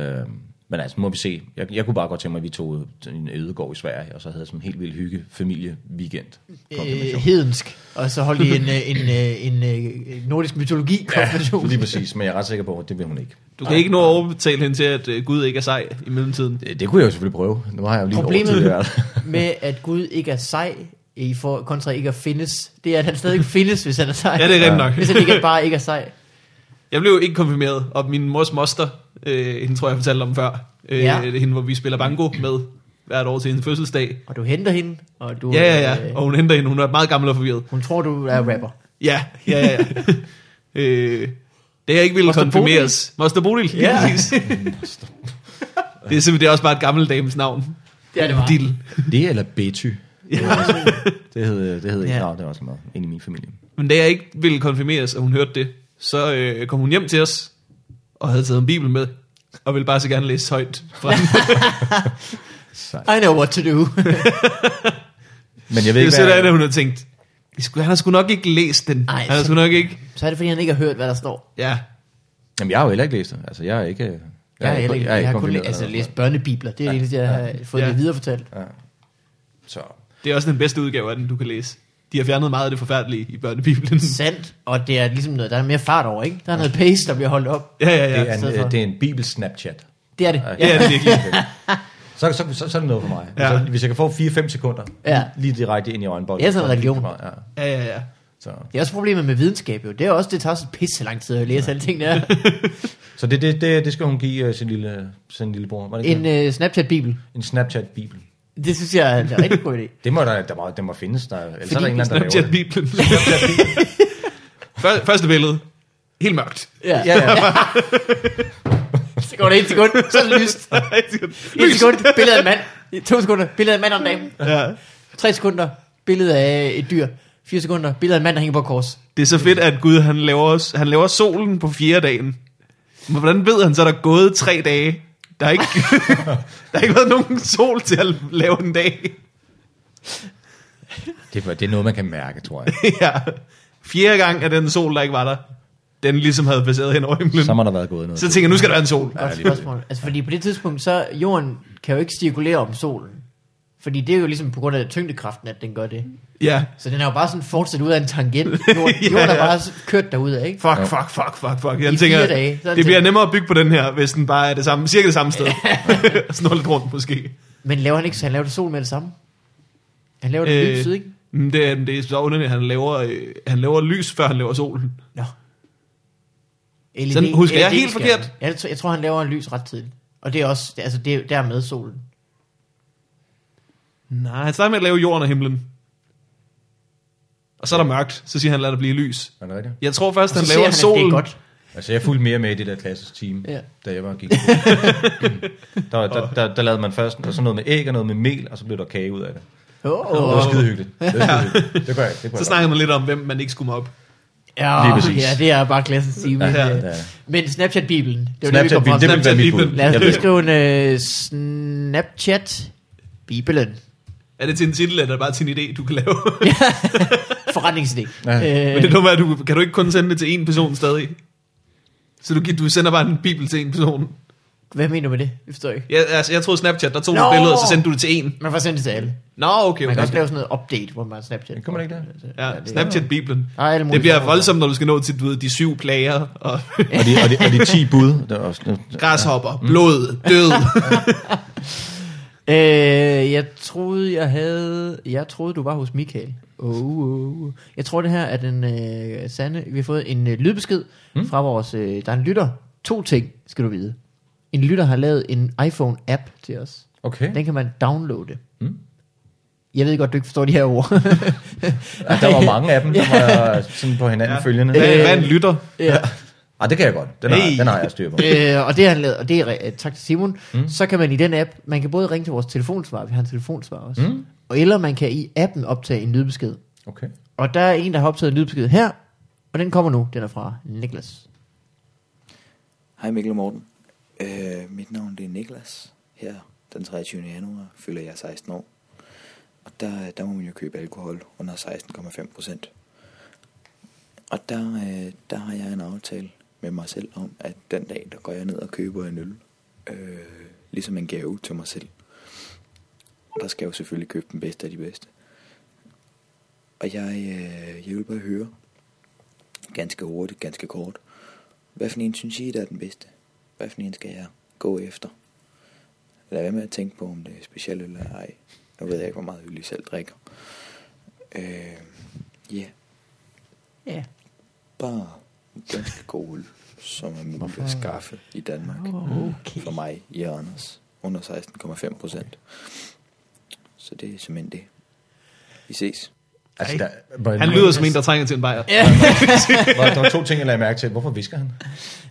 S3: ja.
S1: Øh, men altså, må vi se. Jeg, jeg kunne bare godt tænke mig, at vi tog til en ødegård i Sverige, og så havde sådan en helt vild hygge familie-weekend.
S3: Øh, hedensk. Og så holdt I en, øh, en, øh, en, øh, en nordisk mytologi konfirmation.
S1: Ja, lige præcis, men jeg er ret sikker på, at det vil hun ikke.
S2: Du kan ikke nå at overbetale hende til, at øh, Gud ikke er sej i mellemtiden.
S1: Øh, Det, det kunne jeg jo selvfølgelig prøve. Nu har jeg jo lige
S3: Problemet
S1: overtid i hvert.
S3: med, at Gud ikke er sej, i for, kontra ikke at findes, det er, at han stadig ikke findes, hvis han er sej.
S2: Ja, det er
S1: Ja.
S2: rent nok.
S3: Hvis han ikke er bare ikke er sej.
S2: Jeg blev ikke konfirmeret, og min mors moster, øh, hende tror jeg, jeg fortalte om før, øh,
S3: Ja.
S2: ja. det er hende, hvor vi spiller bango med hvert år til hendes fødselsdag.
S3: Og du henter hende, og du,
S2: Ja, ja, ja,
S3: øh,
S2: og hun henter hende, hun er meget gammel og forvirret.
S3: hun tror, du er rapper.
S2: Ja, ja, ja. øh, det er ikke ville
S3: Moster
S2: konfirmeres. Moster Bodil, lige
S3: Ja.
S2: præcis. det er simpelthen det er også bare et gammelt dames navn.
S3: Ja, det var.
S2: Dil.
S1: Det eller Betty. Det hed, det hed ikke
S3: Ja.
S1: ja. det var også meget ind i min familie.
S2: Men da jeg ikke ville konfirmeres, og hun hørte det, så øh, kom hun hjem til os, og havde taget en bibel med, og ville bare så gerne læse højt fra den.
S1: Sejt.
S3: I know what to do.
S1: Men jeg ved
S2: det er
S1: ikke,
S2: sådan, at
S1: hvad,
S2: hun havde tænkt, "I skulle- han har sgu nok ikke læst den.
S3: Ej,
S2: Ej, han har
S3: så-
S2: sgu nok ikke...
S3: så er det, fordi han ikke har hørt, hvad der står.
S2: Ja,
S1: jamen, jeg har jo heller ikke læst det. Altså, jeg er ikke... Jeg,
S3: Jeg, jeg,
S1: ikke-
S3: jeg, jeg, jeg, jeg har kun læ-
S1: konfirmeret
S3: altså,
S1: eller
S3: læst børnebibler. Det er det eneste, jeg har fået
S2: Ja.
S3: det viderefortalt.
S1: noget. Så
S2: det er også den bedste udgave af den, du kan læse. De har fjernet meget af det forfærdelige i børnebibelen.
S3: Sandt, og det er ligesom noget, der er mere fart over, ikke? Der er noget pace, der bliver holdt op.
S2: Ja, ja, ja.
S1: det, er en,
S3: stedet for-
S1: øh, det er en bibel-snapchat.
S3: Det er det.
S1: Ja.
S2: Ja, det er det virkelig.
S1: Så, så, så, så er det noget for mig.
S2: Ja.
S1: Ja. Så, hvis jeg kan få 4-5 sekunder
S3: Ja.
S1: ja. lige direkte ind i øjenbolden.
S3: Det er sådan en
S1: så
S3: religion.
S1: lige for mig, Ja.
S2: Ja, ja, ja.
S1: Så.
S3: Det er også problemet med videnskab, jo. Det er også, det tager så pisse lang tid at læse alle tingene her.
S1: så det, det, det, det skal hun give øh, sin lille, sin lille bror. Var det ikke
S3: En
S1: det?
S3: øh, Snapchat-bibel.
S1: en Snapchat-bibel.
S3: Det synes jeg er en rigtig god idé.
S1: Det må, der, der, må, der må findes. Der, ellers
S3: Fordi
S1: er der en eller anden, der laver det.
S2: Snapchat-bibelen. Før- Første billede. Helt mørkt.
S3: Ja.
S1: Ja, ja.
S3: Så går det en sekund, så er det lyst. En sekund, billede af en mand. To sekunder, billede af en mand og en dame.
S2: Ja.
S3: Tre sekunder, billede af et dyr. Fire sekunder, billede af en mand, der hænger på et kors.
S2: Det er så fedt, at Gud han laver, os, han laver solen på fjerde dagen. Men hvordan ved han så, at der er gået tre dage? Der har ikke, der har ikke været nogen sol til at lave en dag.
S1: Det, er- det er noget, man kan mærke, tror jeg.
S2: ja. Fjerde gang at den sol, der ikke var der, den ligesom havde passeret hen over himlen.
S1: Så må der være gået noget.
S2: Så tænker jeg, nu skal der være en sol.
S1: Ja,
S3: Godt
S1: lige
S3: spørgsmål. Altså, fordi på det tidspunkt, så jorden kan jo ikke cirkulere om solen. Fordi det er jo ligesom på grund af tyngdekraften, at den gør det.
S2: Ja.
S3: Så den er jo bare sådan fortsat ud af en tangent. Jorden,
S2: Ja,
S3: jorden er
S2: ja.
S3: bare kørt derudad, ikke?
S2: Fuck, fuck, fuck, fuck, fuck.
S3: I
S2: Jeg tænker,
S3: fire dage, så er den
S2: det bliver
S3: tænkt.
S2: nemmere at bygge på den her, hvis den bare er det samme, cirka det samme sted. Snor lidt rundt måske.
S3: Men laver han ikke, så han laver det sol med det samme? Han laver det øh,
S2: Øh,
S3: lyset, ikke?
S2: Men Det, er- det er så underligt, at han laver, øh, han laver lys, før han laver solen.
S3: Nå. E LED,
S2: Sådan husker jeg helt
S3: LED-skærmen.
S2: forkert.
S3: Jeg, tror- jeg tror, han laver en lys ret tidligt. Og det er også, det- altså det er, der er med solen.
S2: Nej, han starter med at lave jorden og himlen. Og så er der mørkt, så siger han, lad der blive lys.
S1: Er det rigtigt?
S2: Jeg tror først,
S3: Og så
S2: han
S3: ser
S2: laver
S3: han, at
S2: solen.
S3: det er godt.
S1: Altså, jeg fulgte mere med i det der klasses team,
S3: Ja.
S1: ja. da jeg var gik. der, var- der, der, der, lavede man først der var sådan noget med æg og noget med mel, og så blev der kage ud af det.
S3: Oh,
S1: Det
S3: oh.
S1: var skide hyggeligt. Det, var skide hyggeligt. det gør jeg ikke. Det gør
S2: Så
S1: jeg
S2: snakker man lidt om, hvem man ikke skulle mobbe.
S3: Ja,
S1: Lige præcis.
S3: ja, det er bare klassisk time.
S1: ikke.
S3: Ja,
S1: Ja,
S3: ja.
S1: ja.
S3: Men Snapchat-bibelen, det var det, vi kom
S1: Snapchat-bibelen,
S3: frem
S1: det
S3: til.
S1: ville være mit bud.
S3: Lad
S2: Snapchat-bibelen.
S1: Jeg
S3: os lige
S1: ved det.
S3: skrive en uh, Snapchat-bibelen.
S2: Er det til en titel, eller er det bare til en idé, du kan lave?
S3: Forretningsidé.
S1: Ja.
S2: Men det
S3: Øh,
S2: dumme er, du, kan du ikke kun sende det til én person stadig? Så du, gi- du sender bare en bibel til en person.
S3: hvad mener du med det? Det forstår jeg ikke.
S2: Jeg, altså, jeg troede Snapchat, der tog
S3: Nå!
S2: nogle billeder, så sendte du det til en.
S3: Man får sendt det til alle.
S2: Nå, okay,
S3: Man kan
S2: okay.
S3: også lave sådan noget update, hvor man Snapchat.
S1: Det kan man ikke der.
S2: Ja, Snapchat-biblen.
S3: Der er alle mulige
S2: Det bliver
S3: former.
S2: voldsomt, når du skal nå til du ved, de syv plager, og
S1: Og de, og, de, og de 10 bud. Der er også,
S2: græshopper, blod, død.
S3: Øh, jeg troede, jeg havde... Jeg troede, du var hos Michael. Oh, oh, oh. Jeg tror, det her er den øh, sande... Vi har fået en øh, lydbesked
S1: Hmm?
S3: mm. fra vores... Øh, der er en lytter. To ting, skal du vide. En lytter har lavet en iPhone-app til os.
S1: okay. Hmm?
S3: Den kan man downloade. Mm. Jeg ved godt, du ikke forstår de her ord.
S1: Ja, der var mange af dem, der var sådan på hinanden ja. følgende.
S2: Hvad, hvad en lytter?
S3: ja.
S1: Ah, det kan jeg godt. Den har,
S2: Hey.
S1: den har jeg styr på.
S3: øh, og det har han lavet, og det er re- øh, tak til Simon. Mm. Så kan man i den app, man kan både ringe til vores telefonsvar, vi har en telefonsvar også, mm. og eller man kan i appen optage en lydbesked.
S1: Okay.
S3: Og der er en, der har optaget en lydbesked her, og den kommer nu. Den er fra Niklas.
S5: Hej Mikkel og Morten. Øh, mit navn det er Niklas. Her den 23. januar fylder jeg 16 år. Og der, der må man jo købe alkohol under 16,5 procent. Og der, øh, der har jeg en aftale med mig selv om, at den dag, der går jeg ned og køber en øl øh, ligesom en gave til mig selv. Og der skal jeg jo selvfølgelig købe den bedste af de bedste. Og jeg, øh, jeg vil bare høre, ganske hurtigt, ganske kort, hvad for en synes I, der er den bedste? Hvad for en skal jeg gå efter? Lad være med at tænke på, om det er specielt eller ej. Nu ved jeg ikke, hvor meget øl I selv drikker. Øh, Ja, yeah.
S3: Ja.
S5: bare ganske god øl, som er muligt at skaffe i Danmark. Mm.
S3: Okay.
S5: For mig, i Anders. Under 16,5 procent. Så det er simpelthen det. Vi ses.
S1: Altså, der,
S2: Han lyder som en, der trænger til en bajer.
S3: Ja.
S1: Hvor, der var to ting, jeg lagde mærke til. Hvorfor visker han? Er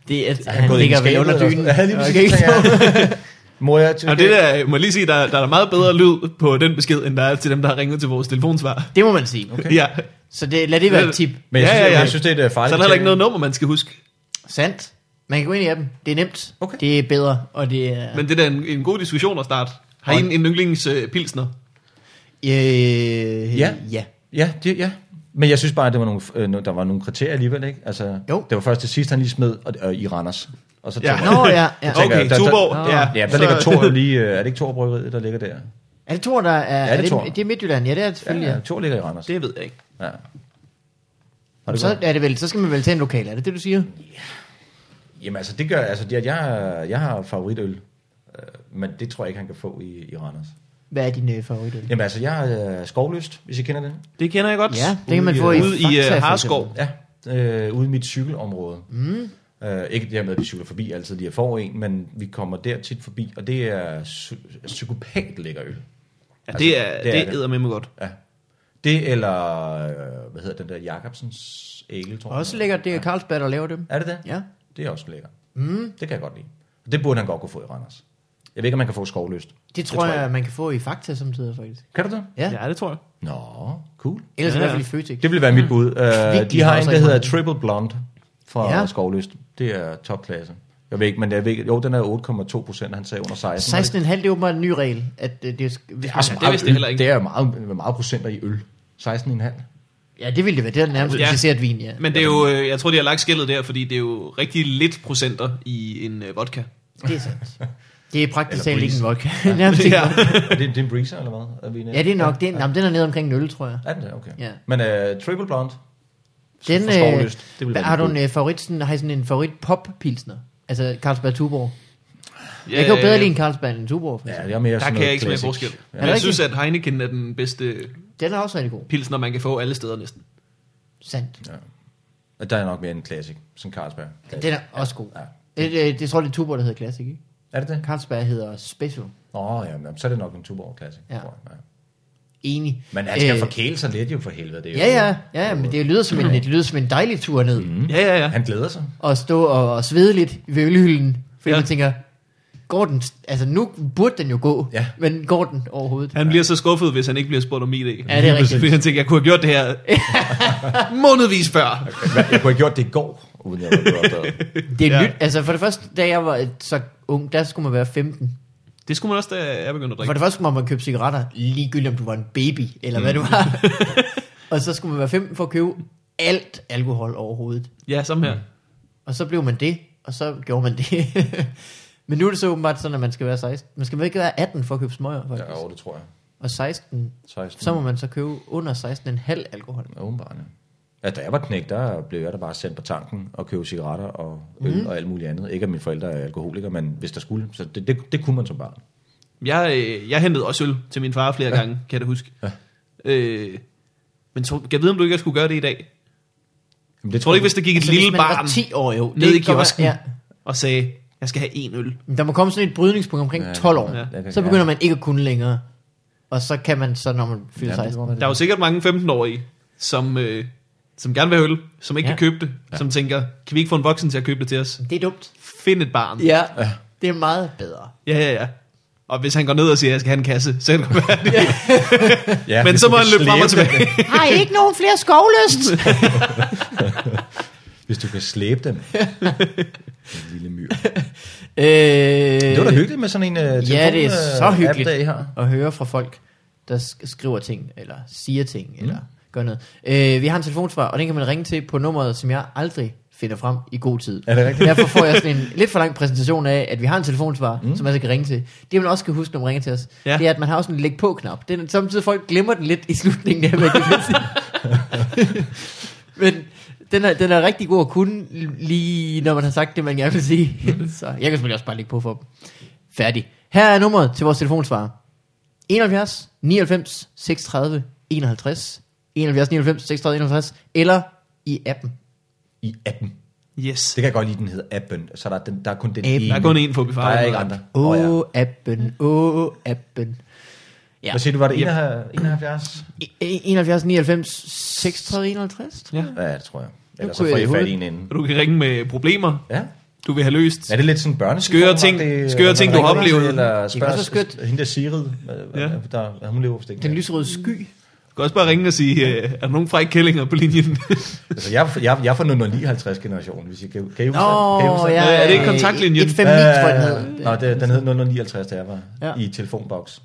S3: Det er, at han
S1: gået ind i
S3: ligger vel
S1: skabet
S3: under
S1: eller
S3: dynen.
S1: sådan? Ja, lige
S3: Okay.
S1: præcis. Okay. Må jeg...
S2: Og det der, må jeg lige sige, der, der er meget bedre lyd på den besked, end der er til dem, der har ringet til vores telefonsvar.
S3: Det må man sige. Okay.
S2: Okay. Ja.
S3: Så det, lad det være et tip.
S1: Men jeg
S2: Ja,
S1: synes,
S2: ja, ja.
S1: Jeg synes det er et
S2: Så er
S1: farligt.
S2: der heller ikke noget nummer, man skal huske.
S3: Sandt. Man kan gå ind i appen. Det er nemt.
S1: Okay.
S3: Det er bedre, og det er...
S2: Men det er da en, en god diskussion at starte. Har I en, en yndlingspilsner?
S3: Øh,
S1: Ja.
S3: ja.
S1: Ja, det, ja. Men jeg synes bare, at det var nogle, øh, no- der var nogle kriterier alligevel, ikke? Altså,
S3: Jo.
S1: det var først til sidst, han lige smed og, øh, i Randers. Og så
S2: Ja.
S1: tænker jeg-
S3: Nå ja, ja.
S1: tænker
S2: Okay,
S1: der- der-
S2: Tuborg.
S3: Nå.
S2: Ja,
S1: Ja, der
S2: Så-
S1: ligger Tor jo lige... Øh, er det ikke Tor Bryggeriet, der ligger der?
S3: Er det Thor, der er...
S1: det
S3: er det,
S1: Thor?
S3: det er Midtjylland. Ja, det er det selvfølgelig.
S1: Ja,
S3: Ja,
S1: ja. Tor ligger i Randers.
S2: Det ved jeg ikke.
S1: Ja. Har det
S3: Så,
S1: så...
S3: er det vel, så skal man vel tage en lokal. Er det det, du siger?
S1: Jamen altså, det gør... Altså, det, at jeg, jeg har favoritøl, øh, men det tror jeg ikke, han kan få i, i Randers.
S3: Hvad er din øh, favoritøl?
S1: Jamen altså, jeg har øh, skovlyst, hvis I kender det.
S2: Det kender jeg godt.
S3: Ja, det kan man
S1: Ude i,
S3: få i
S2: Ude i
S3: Fakta, for
S2: uh,
S3: eksempel.
S2: Harskov.
S1: Ja, øh, ude i mit cykelområde. Mm. Øh, ikke dermed, at vi cykler forbi altid, lige jeg får en, men vi kommer der tit forbi, og det er psy- psykopat lækker øl.
S2: Ja,
S1: Altså,
S2: det er,
S1: det er
S2: det
S1: det.
S2: æder med mig godt.
S1: Ja. Det eller, øh, hvad hedder den der, Jacobsens ægle, tror jeg.
S3: Også lækkert, det er Carlsberg, der laver dem.
S1: Er det det?
S3: Ja.
S1: Det er også lækker. Mm. Det kan jeg godt lide. Og det burde han godt kunne få i Randers. Jeg ved ikke, om man kan få skovløst.
S3: Det tror, jeg, man kan få i Fakta samtidig, faktisk.
S1: Kan du det?
S3: Ja.
S2: Ja, det tror jeg.
S1: Nå, cool.
S3: Ellers ja,
S2: Ja,
S3: i hvert
S2: ja.
S3: fald i Føtex.
S1: Det vil være mit bud. Uh, de
S3: Mm. Vigtigt
S1: har
S3: for
S1: en,
S3: os
S1: der
S3: at
S1: hedder
S3: komme.
S1: Triple Blonde fra
S3: Ja.
S1: ja. Skovlyst. Det er topklasse. Jeg ved ikke, men jeg ved, ikke- jo, den er 8,2 procent, han sagde under 16.
S3: 16,5 det er åbenbart en ny regel. At, øh, det, er, hvis
S1: Det er,
S3: man,
S1: også
S2: Ja, det
S1: meget
S2: vidste
S1: det
S2: jeg heller ikke.
S1: Det er jo meget, hvor meget procenter i øl. 16,5.
S3: ja, det ville det være. Det er nærmest ja.
S2: Ja.
S3: dessertvin, ja.
S2: Men det er jo, øh, jeg tror, de har lagt skillet der, fordi det er jo rigtig lidt procenter i en øh, vodka.
S3: Det er sandt. Det er praktisk
S1: Eller
S3: talt ikke
S1: breeze.
S3: en vodka. Nærmest ikke.
S2: Ja.
S1: Er det, det er en breezer, eller hvad? Er vi nede?
S3: Ja, det er nok. Det er, jamen, den er nede omkring 0, tror jeg.
S1: Er den der? Okay.
S3: Ja.
S1: Men uh, Triple Blonde
S3: Den, øh,
S1: fra Skovlyst, det vil
S3: der
S1: være
S3: har
S1: mit
S3: du
S1: bud.
S3: en øh, favorit, sådan, har I sådan en favorit pop-pilsner? Altså Carlsberg Tuborg. Jeg kan jo bedre lide en Carlsberg end en Tuborg. Ja.
S1: Ja, jeg er mere
S2: Der
S1: sådan
S2: kan jeg
S1: noget
S2: ikke smage
S1: classic.
S2: forskel.
S1: Ja.
S2: Men jeg
S3: rigtigt?
S2: synes, at Heineken er den bedste
S3: Den er også rigtig god.
S2: pilsner, man kan få alle steder næsten.
S3: Sandt.
S1: Og Der er nok mere en classic, som Carlsberg.
S3: Den er også god.
S1: Ja.
S3: Det, det, det tror jeg, det er Tuborg, der hedder Classic, ikke?
S1: Er det det?
S3: Carlsberg hedder Special.
S1: Åh, oh, ja, men så er det nok en Tuborg Classic,
S3: Ja.
S1: ja. tror jeg. Ja.
S3: Enig.
S1: Men han skal
S3: Øh,
S1: øh, forkæle sig lidt jo for helvede. Det er
S3: Ja,
S1: jo-
S3: ja, ja, ja, men det lyder som en, det lyder som en dejlig tur ned. Mm.
S2: Ja, ja, ja.
S1: Han glæder sig.
S3: Og stå og, og svede lidt ved ølhylden. Fordi ja.
S2: Ja.
S3: man tænker, går den, altså nu burde den jo gå,
S1: Ja.
S3: men går den overhovedet?
S2: Han bliver så skuffet, hvis han ikke bliver spurgt om idé.
S3: Ja, det er rigtigt.
S2: Fordi han tænker, jeg kunne have gjort det her månedvis før.
S1: Hvad, jeg kunne have gjort det i går, uden jeg var blevet opdaget.
S3: Det er ja.
S2: Ja.
S3: nyt. Altså for det første, da jeg var øh, så ung, der skulle man være 15.
S2: Det skulle man også, da jeg begyndte
S3: For
S2: at drikke.
S3: det første må man købe cigaretter, ligegyldigt om du var en baby, eller mm. hvad du var. og så skulle man være 15 for at købe alt alkohol overhovedet.
S2: Ja, samme her.
S3: Og så blev man det, og så gjorde man det. Men nu er det så åbenbart sådan, at man skal være 16. Man skal vel ikke være 18 for at købe smøger, faktisk.
S1: Ja, jo, det tror jeg.
S3: Og 16,
S1: 16.
S3: så må man så købe under 16,5 alkohol.
S1: Ja, Åbenbart, ja. Ja, da jeg var knæk, der blev jeg da bare sendt på tanken og købe cigaretter og
S2: Mhm.
S1: øl mm. og alt muligt andet. Ikke at mine forældre er alkoholikere, men hvis der skulle. Så det, det, det kunne man som barn.
S2: Jeg, øh, jeg hentede også øl til min far flere ja. gange, kan jeg da huske. Ja. Øh, men tror, jeg ved, om du ikke skulle gøre det i dag.
S1: Men det
S2: Tror du ikke, hvis der gik et
S3: Altså, hvis
S2: lille
S3: man
S2: barn
S3: var 10 år, jo.
S2: ned i
S3: kan godt
S2: kiosken
S3: være-
S2: ja. og sagde, jeg skal have en øl.
S3: Men Der må komme sådan et brydningspunkt omkring
S1: Ja,
S3: 12 år.
S2: ja,
S1: det kan-
S3: så begynder
S1: ja.
S3: man ikke at kunne længere. Og så kan man så, når man fylder
S1: Ja, det
S3: 16.
S1: må man
S2: Der er jo sikkert mange 15-årige, som, øh, som gerne vil have øl, som ikke
S3: Ja.
S2: ja. kan købe det, ja. som tænker, kan vi ikke få en voksen til at købe det til os?
S3: Det er dumt.
S2: Find et barn.
S3: Ja, det er meget bedre.
S2: Ja, ja, ja. Og hvis han går ned og siger, jeg skal have en kasse, så kan det godt være, det.
S1: ja,
S2: Men
S1: hvis
S2: så
S1: du
S2: må
S1: kan
S2: han løbe frem og
S1: slæbe
S2: tilbage.
S3: Har I ikke nogen flere skovløst?
S1: Dem, hvis du kan slæbe dem. en lille myr.
S3: øh,
S1: Det var da
S2: Øh,
S1: hyggeligt med sådan en uh, telefon.
S3: Ja, det er så
S1: øh,
S3: hyggeligt
S1: app-dag her.
S3: at høre fra folk, der sk- skriver ting, eller siger ting, mm. eller gør noget. Øh, vi har en telefonsvar, og den kan man ringe til på nummeret, som jeg aldrig finder frem i god tid.
S1: Er det rigtigt?
S3: Derfor får jeg sådan en lidt for lang præsentation af, at vi har en telefonsvar, mm. som man så kan ringe til. Det man også skal huske, når man ringer til os,
S2: Ja.
S3: ja. det er, at man har også en læg på knap. Den, samtidig folk glemmer den lidt i slutningen af, hvad de vil sige. Men den er, den er rigtig god at kunne, lige når man har sagt det, man gerne vil sige. så jeg kan selvfølgelig også bare lægge på for dem. Færdig. Her er nummeret til vores telefonsvarer. 71 99 36 51 71 99 36 51 eller i appen.
S1: I appen.
S2: Yes.
S1: Det kan jeg godt lide, den hedder appen. Så der er, den, der er kun den
S3: Appen.
S1: ene.
S2: Der er kun én Fobi Farve.
S1: Der er ikke andre.
S3: Åh,
S1: Åh, ja.
S3: oh, appen, åh, oh, appen. Ja.
S1: Hvad siger du, var det
S2: Yep.
S1: 71?
S3: I- i- 71 99 36 51? tror jeg.
S2: Ja.
S1: Ja, det tror jeg. Ellers så
S3: kunne
S1: får
S3: jeg i
S1: I fat i
S3: hovedet.
S1: en ende.
S2: Og du kan ringe med problemer,
S1: Ja.
S2: du vil have løst.
S1: Er det lidt sådan børne?
S2: Skøre ting- skøre ting, du har oplevet.
S1: Eller
S3: Det kan også
S1: spørger
S3: være skørt.
S1: skørt. hende der Sigrid, øh,
S2: Ja.
S1: øh, der, hun lever vist ikke.
S3: Den
S1: mere.
S3: lyserøde sky.
S2: Du kan også bare ringe og sige, øh, er der nogen frække kællinger på linjen?
S1: Altså, jeg, jeg, jeg er fra 059 generationen, hvis I kan, kan I huske den? Kan I huske den?
S2: ja. Er det ikke kontaktlinjen?
S3: Et femni, tror jeg, den
S1: Øh,
S3: hed.
S1: Nå, det, den hed 0059, da jeg var
S3: Ja.
S1: ja. i telefonboks,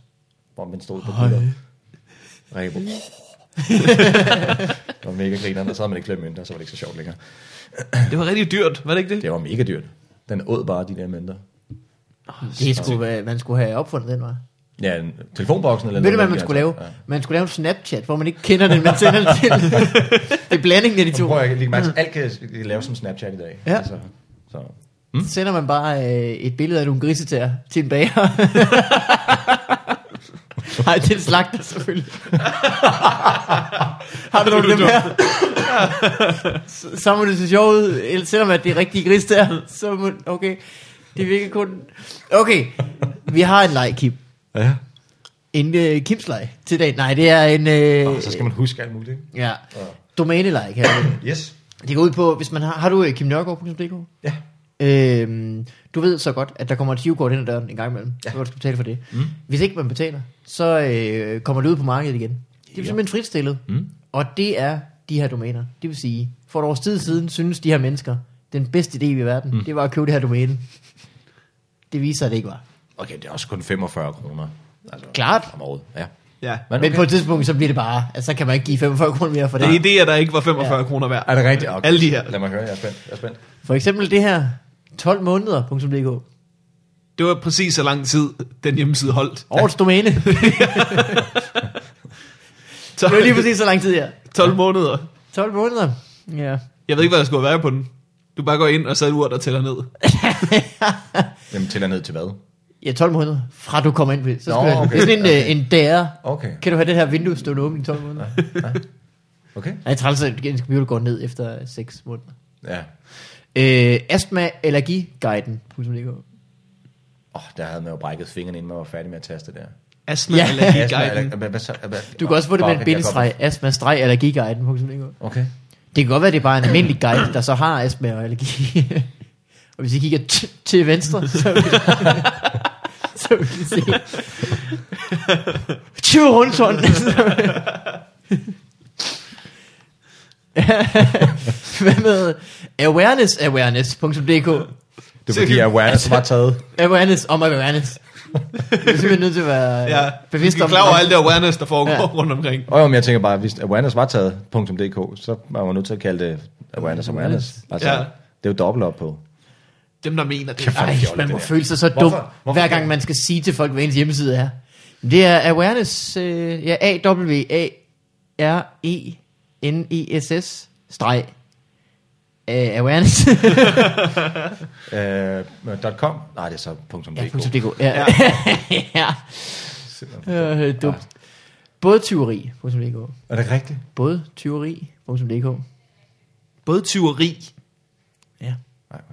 S1: hvor man stod på gutter. Ræbo. det var mega grinerende, og så havde man ikke glemt mønter, så var det ikke så sjovt længere.
S2: det var rigtig dyrt, var det ikke det?
S1: Det var mega dyrt. Den åd bare de der mønter.
S3: Det skulle, være- man skulle have opfundet den, var.
S1: Ja, en- telefonboksen eller
S3: Ved du, hvad
S1: 059,
S3: man skulle
S2: altså,
S3: lave?
S1: Ja.
S3: Man skulle lave en Snapchat, hvor man ikke kender den, man sender den til. det er blandingen af de
S1: Så
S3: to.
S1: prøver jeg lige mærke, alt kan laves som Snapchat i dag.
S3: Mm. Ja.
S1: Altså, så. Hmm?
S3: Så sender man bare øh, et billede af nogle grisetær til en bager. Nej, det er en slagter selvfølgelig. Har du nogle af dem her? så, så må det se sjovt ud, eller selvom at det er rigtige gris der, så må, okay, det virker kun... Okay, vi har en leg, Kim.
S1: Ja.
S3: En øh, Kimsleg til dag. Nej, det er en... Øh,
S1: Og så skal man huske alt muligt. ikke?
S3: Ja, domæneleg her.
S1: Yes.
S3: Det går ud på, hvis man har... Har du øh, kimnørgaard.dk?
S1: Ja.
S3: Øhm, du ved så godt, at der kommer et hivkort ind ad døren en gang imellem,
S1: Ja.
S3: ja. så kan du skal betale for det. Mm. Hvis ikke man betaler, så øh, kommer det ud på markedet igen. Det er
S1: Ja.
S3: simpelthen fritstillet.
S1: Mm.
S3: Og det er de her domæner. Det vil sige, for et års tid siden synes de her mennesker, den bedste idé i verden, mm. det var at købe det her domæne. Det viser sig, at det ikke var.
S1: Okay, det er også kun 45 kroner. Altså,
S3: Klart.
S1: Om året, ja.
S2: Ja.
S1: Men,
S3: Men på et tidspunkt, så bliver det bare, altså så kan man ikke give 45 kroner mere for
S2: Det er
S3: det.
S2: idéer, der ikke var 45 ja. kroner værd.
S1: Er det rigtigt? Okay.
S2: Alle de her.
S1: Lad mig høre, jeg er spændt. Jeg er spændt.
S3: For eksempel det her, 12 måneder.dk.
S2: Det var præcis så lang tid, den hjemmeside holdt.
S3: Årets domæne.
S2: Så,
S3: Det var lige præcis så lang tid her.
S2: 12 måneder.
S3: 12 måneder. Ja.
S2: Jeg ved ikke, hvad der skulle være på den. Du bare går ind og så er et ur, der tæller ned.
S1: Jamen, tæller ned til hvad?
S3: Ja, 12 måneder, fra du kommer ind på det. Så
S1: Nå,
S3: skal Nå, okay,
S1: okay,
S3: det er sådan en, okay. en dære.
S1: Okay.
S3: Kan du have det her vindue stående åbent i 12 måneder?
S1: Okay.
S3: Nej, træls, at ens computer går ned efter 6 måneder.
S1: Ja.
S3: Øh, astma allergi guiden. Det
S1: Åh, oh, der havde man jo brækket fingrene, inden man var færdig med at taste der.
S2: Astma,
S3: Ja.
S2: ja. allergi,
S1: Astma,
S2: guiden.
S1: eller- hvad- hvad så- hvad-
S3: Du kan også få det med
S1: Fuck,
S3: en
S1: jeg kan godt-
S3: bindestreg, astma streg allergi guiden.
S1: Okay.
S3: Det kan godt være, det er bare en almindelig guide, der så har astma og allergi. og hvis I kigger t- til venstre, så vil, så vil I se. 20 rundtånd. Hvad med awarenessawareness.dk
S1: Det var fordi, awareness var taget.
S3: Awareness om awareness. Du er simpelthen nødt til at være
S2: Ja.
S3: ja,
S2: Bevidst
S3: bevidst om
S2: klar over alt det awareness, der foregår
S3: Ja.
S2: ja. rundt omkring.
S1: Og jo, men jeg tænker bare, hvis awareness var taget, .dk, så var man nødt til at kalde det awareness awareness. Altså,
S2: Ja.
S1: ja. det er jo dobbelt op på.
S2: Dem, der mener det.
S1: Kæft,
S3: Ej,
S1: fjollet,
S3: man
S1: det
S3: må
S1: der.
S3: føle sig så dum,
S1: Hvorfor- hvorfor
S3: hver gang
S1: kan-
S3: man skal sige til folk, hvad ens hjemmeside er. Det er awareness, øh, ja, E A-W-A-R-E-N-E-S-S, E streg, øh, awareness.
S1: Uh, .com? Nej, det er så .dk.
S3: ja, .dk. Ja. ja. Øh, dumt. Både tyveri, .dk.
S1: Er det rigtigt?
S3: Både tyveri, .dk.
S2: Både tyveri.
S3: Ja.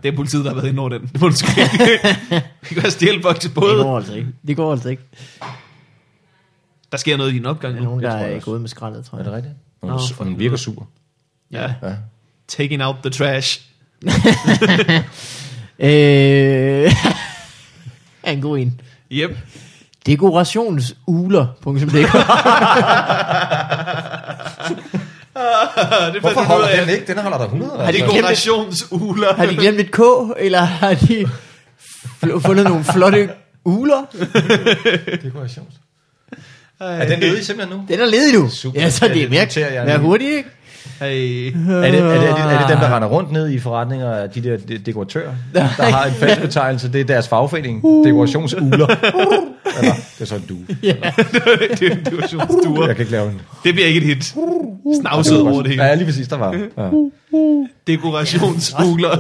S2: Det er politiet, der har været inde over den. Det må du sgu ikke. Vi kan også stjæle folk til
S3: Det
S2: både.
S3: går altså ikke. Det går altså ikke.
S2: Der sker noget i din opgang
S3: Der er
S2: nu.
S3: nogen,
S1: det
S3: der
S1: tror jeg
S3: er
S1: også.
S3: gået med skraldet, tror
S1: Er
S3: jeg.
S1: det rigtigt? Hun,
S3: Nå,
S1: oh,
S3: for
S1: hun virker sur.
S2: Ja.
S1: Ja.
S2: Taking out the trash.
S3: Øh, er en god en.
S2: Yep.
S3: Dekorationsugler.dk
S2: Ah, det
S1: Hvorfor
S2: fandt jeg ud
S1: holder den
S2: af.
S1: ikke? Den holder der 100.
S3: Har de
S1: altså.
S3: glemt det?
S2: Dekorationsugler.
S3: Har de glemt et K, eller har de fl- fundet nogle flotte uler?
S1: Det kunne være sjovt.
S2: Ej.
S1: Er den øde simpelthen nu?
S3: Den er ledig nu.
S1: Super.
S3: Ja, så
S1: Ja,
S3: det er
S1: det
S3: mere
S1: noterer jeg
S3: vær
S1: lige.
S3: hurtig, ikke?
S2: Hey.
S1: Er det, er, det, er, det, er det dem, der render rundt ned i forretninger af de der de- dekoratører, der har en fast betegnelse? Det er deres fagforening, uh. dekorationsugler. Eller, det er så en due.
S2: det, er- det, var sjovt. Sture.
S1: Jeg kan ikke lave en.
S2: det bliver ikke et hit. Snavset over det hele.
S1: Ja, lige præcis, der var. Ja.
S2: Dekorationsugler.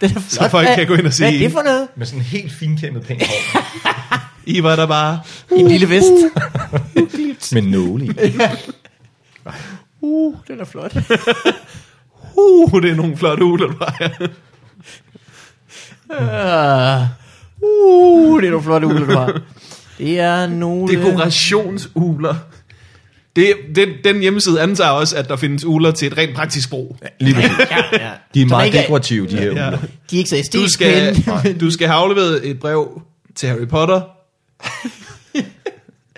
S3: Den er flot.
S2: folk
S3: Hvad-
S2: kan gå ind og se
S3: Hvad er
S2: en.
S3: det for noget?
S1: Med sådan en helt finkæmmet pænt hår.
S2: I var der bare.
S3: En lille vest.
S1: Med nåle i.
S3: Uh, den er flot.
S2: Uh, det er nogle flotte ugler, du har.
S3: Ah. Uh, det er nogle flotte uler, du har. Det er nogle...
S2: Dekorationsugler. Det, den, den hjemmeside antager også, at der findes uler til et rent praktisk brug.
S1: Lige præcis.
S3: Ja, ja.
S1: De er
S3: Så der
S1: meget
S3: ikke er-
S1: dekorative, de her ja. ugler.
S3: De er ikke så
S2: Du
S3: æstetisk
S2: skal,
S3: pæne.
S2: du skal have afleveret et brev til Harry Potter.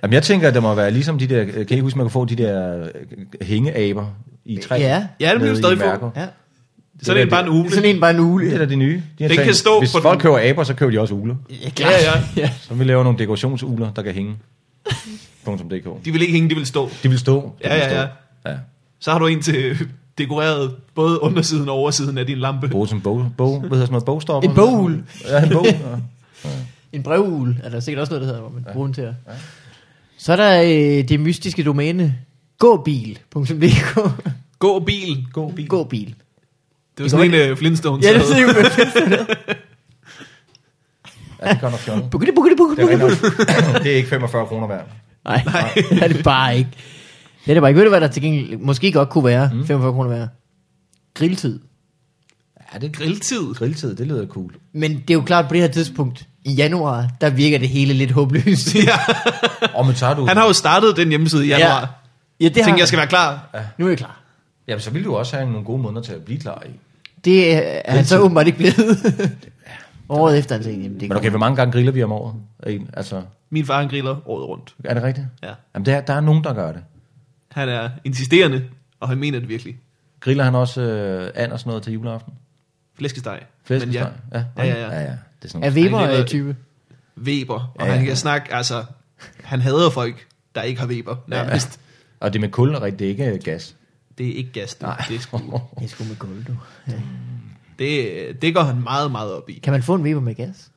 S1: Jamen, jeg tænker, at det må være ligesom de der... Kan I huske, man kan få de der øh, hængeaber i træ?
S3: Ja.
S2: Ja, det vil
S1: Nede
S2: du
S1: i
S2: stadig få.
S1: Mærker.
S3: Ja.
S2: Så er det bare en ugle.
S3: Sådan en bare en ugle.
S1: Det er da det nye. De har
S2: Den
S1: tænkt,
S2: kan stå
S1: hvis
S2: på
S1: folk
S2: den-
S1: køber aber, så køber de også ugler.
S3: Ja, klart.
S2: Ja, ja.
S3: ja.
S1: Så vi laver nogle dekorationsugler, der kan hænge. .dk.
S2: De vil ikke hænge, de vil stå.
S1: De vil stå. De
S2: Ja,
S1: vil
S2: ja,
S1: stå.
S2: ja.
S1: ja.
S2: Så har du en til dekoreret både undersiden og oversiden af din lampe.
S1: Bruge som bog, bog, hvad hedder sådan noget, bogstopper?
S3: En bogugle.
S1: Ja, en bog. ja.
S3: En brevugle er der sikkert også noget, der hedder, hvor man ja. bruger den til at... Ja. Så er der øh, det mystiske domæne gåbil.dk
S2: Gå bil.
S1: God bil.
S3: Gåbil.
S2: Det var sådan en uh, Flintstones.
S3: Ja, det
S2: havde.
S3: ser jo
S1: Ja, det gør nok fjollet.
S3: Bukkede, bukkede,
S1: Det er,
S3: bukkede,
S1: rigtig
S3: bukkede.
S1: nok- det er ikke 45 kroner værd.
S3: Nej, det er det bare ikke. Det er det bare ikke. Ved du, hvad der til gengæld måske godt kunne være? Mm. 45 kroner værd. Grilltid.
S1: Ja, det er
S2: Grilltid.
S1: grilltid, det lyder cool.
S3: Men det er jo klart, på det her tidspunkt i januar, der virker det hele lidt håbløst.
S2: Ja.
S1: Og men tager du...
S2: Han har jo startet den hjemmeside i januar. Ja.
S3: ja det
S2: Jeg
S3: har
S2: tænkte, jeg skal være klar.
S3: Nu er jeg klar.
S1: Jamen, så vil du også have nogle gode måneder til at blive klar i.
S3: Det øh, er er han så åbenbart ikke blevet. Året efter, han tænkte, jamen, det
S1: Men okay, hvor mange gange griller vi om året? En, altså,
S2: Min far han griller året rundt.
S1: er det rigtigt?
S2: Ja.
S1: Jamen, der, der er nogen, der gør det.
S2: Han er insisterende, og han mener det virkelig.
S1: Griller han også øh, and og sådan noget til juleaften?
S2: Flæskesteg.
S1: Flæskesteg?
S2: Men ja,
S1: Ja.
S2: Ja, ja, ja.
S1: ja, ja. Det er sådan
S3: er
S1: noget.
S3: Weber
S2: Han lever-
S3: øh, type.
S2: Weber. Og
S1: Ja,
S2: ja,
S1: ja.
S2: han kan snakke, altså, han hader folk, der ikke har Weber, nærmest. Ja.
S1: Og det er med kul og rigtigt, det er ikke øh, gas.
S2: Det er ikke gas, det, det, er sgu,
S3: Det er sgu med gulv, du.
S2: det, det går han meget, meget op i.
S3: Kan man få en Weber med gas?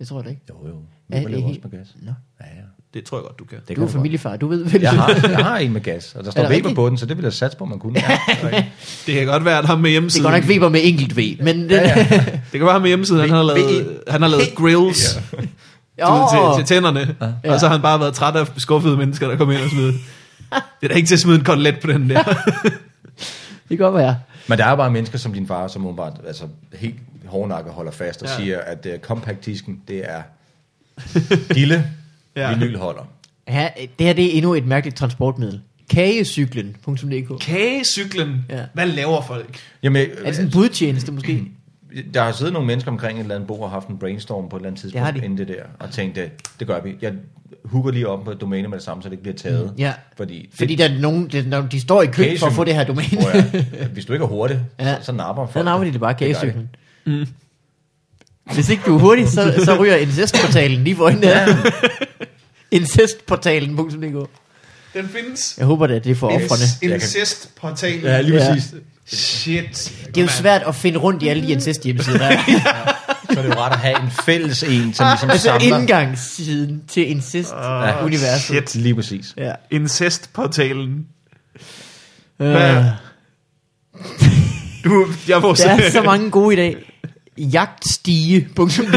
S3: Jeg tror det ikke.
S1: Jo, jo.
S3: Er
S1: Vi
S3: det
S1: laver også
S3: helt-
S1: med gas.
S3: Nå.
S1: Ja, ja.
S2: Det tror jeg godt, du kan.
S1: Det
S3: Du
S1: kan
S3: er
S1: godt.
S3: familiefar, du ved vel.
S1: Jeg har, jeg har en med gas, og der står
S3: det
S1: Weber
S3: rigtigt?
S1: på den, så det ville jeg satse på, man kunne. Ja, det er rigtigt.
S2: Det kan godt være, at ham med
S3: Det
S2: hjemmesiden...
S3: går nok ikke Weber med enkelt V, men... Ja, ja.
S2: Det kan være ham med hjemmesiden, han har lavet, han har lavet grills ja.
S3: oh,
S2: til, til tænderne. Ja. Og så har han bare været træt af skuffede mennesker, der kommer ind og smider. Det er da ikke til at smide en kotelet på den der.
S3: det kan godt være.
S1: Men der er bare mennesker som din far, som åbenbart altså, helt hårdnakket holder fast og
S2: Ja.
S1: ja. siger, at uh, kompaktisken, det er gilde,
S2: Ja.
S1: ja. vinylholder.
S3: Ja, det her det er endnu et mærkeligt transportmiddel. Kagecyklen.dk
S2: Kagecyklen.
S3: Ja.
S2: Hvad laver folk?
S1: Jamen, øh,
S3: Er det sådan en budtjeneste måske?
S1: der har siddet nogle mennesker omkring et eller andet bord og haft en brainstorm på et eller andet tidspunkt
S3: har de.
S1: inden det der, og tænkte, det gør vi. Jeg hooker lige op på et domæne med det samme, så det ikke bliver taget.
S3: Mm, Ja.
S1: Fordi, det,
S3: Fordi der er nogen, der, når de står i kø for at få det her domæne.
S1: Tror jeg. Hvis du ikke er hurtig,
S3: Ja.
S1: ja. så, så napper folk.
S3: Så navner de det bare
S1: gør de.
S3: kagecyklen. Mm. Hvis ikke du er hurtig, så, så ryger incestportalen lige for øjnene. Ja. Incestportalen.dk
S2: Den findes.
S3: Jeg håber da, det er for offrene.
S2: Incestportalen.
S1: Ja, lige
S3: Ja.
S1: præcis. Ja.
S2: Shit.
S3: Det er jo svært at finde rundt i alle de incest hjemmesider, der er.
S1: Så er det jo rart at have en fælles en, som ligesom
S3: altså
S1: samler.
S3: indgangssiden til incest-universet.
S2: shit.
S1: Lige præcis.
S3: ja.
S2: Incestportalen.
S3: Øh,
S2: Du, jeg må
S3: der er så mange gode i dag. Jagtstige.dk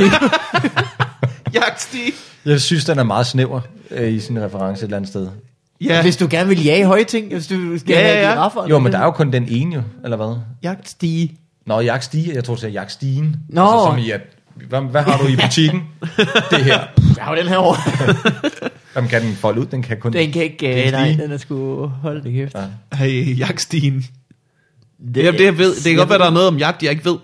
S2: Jagtstige.
S1: Jeg synes, den er meget snæver øh, i sin reference et eller andet sted.
S2: Ja,
S3: Hvis du gerne vil jage høje ting, hvis du skal
S2: Ja,
S3: ja,
S2: ja,
S3: have
S2: ja.
S3: giraffer.
S1: Jo, men der er jo kun den ene jo, eller hvad?
S3: Jagtstige.
S1: Nå, jagtstige, jeg tror, det er jagtstigen.
S3: Nå.
S1: Altså, som i at, hvad, hvad har du i butikken? det her.
S3: Jeg har jo den her over.
S1: Jamen, kan den folde ud? Den kan kun...
S3: Den kan ikke...
S1: Det
S3: Øh,
S1: er
S3: nej,
S1: stige.
S3: den er sgu... Hold det kæft.
S1: Ja.
S2: hey, jagtstigen. Det, Jamen, det, jeg ved, det kan godt være, der er noget om jagt, jeg ikke ved.
S3: Det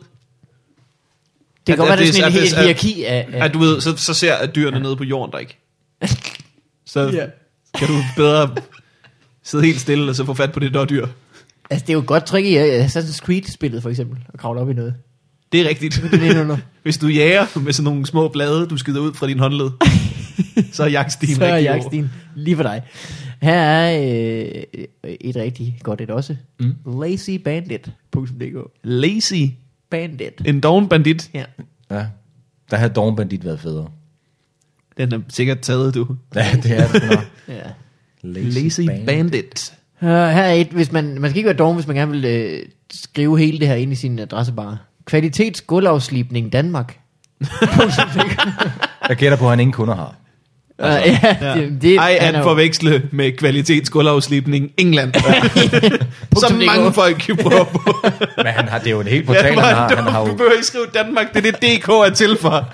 S3: kan
S2: at-
S3: godt være,
S2: at
S3: der er
S2: det-
S3: sådan
S2: at
S3: en-
S2: det-
S3: et
S2: at-
S3: hierarki af...
S2: Ja. At du ved, så, så ser jeg, at dyrene nede på jorden der ikke. Så
S3: Ja.
S2: ja. kan du bedre sidde helt stille og så få fat på det der dyr.
S3: Altså, det er jo et godt trick i øh, Assassin's Creed-spillet, for eksempel, at kravle op i noget.
S2: Det er rigtigt.
S3: Det er nedenunder.
S2: Hvis du jager med sådan nogle små blade, du skyder ud fra din håndled, så er jagtstien
S3: Så er
S2: rigtig
S3: jeg
S2: over.
S3: Stine, lige for dig. Her er øh, et rigtig godt et også. Mm. Lazybandit.dk
S2: Lazy.
S3: Bandit.
S2: En doven bandit.
S3: Ja.
S1: Ja. Der havde Dawn Bandit været federe.
S2: Den er sikkert taget, du.
S1: Ja, det er det nok.
S3: ja.
S2: Lazy bandit. bandit.
S3: Uh, her er et, hvis man, man skal ikke være dog, hvis man gerne vil øh, skrive hele det her ind i sin adressebar. Kvalitets gulvafslipning Danmark.
S1: Jeg gætter på, at han ingen kunder har.
S3: Uh, ja, det, det,
S2: Ej,
S3: han
S2: at
S3: er jo-
S2: forveksle med kvalitetsgulvafslipning England. Som
S3: Punktum DK.
S2: mange folk jo prøver på.
S1: Men han har, det er jo en helt
S2: Ja,
S1: portal,
S2: hvor
S1: han
S2: er
S1: har.
S2: det
S1: Han
S2: dumt.
S1: har
S2: Du
S1: jo
S2: behøver ikke skrive Danmark, det er det DK er til for.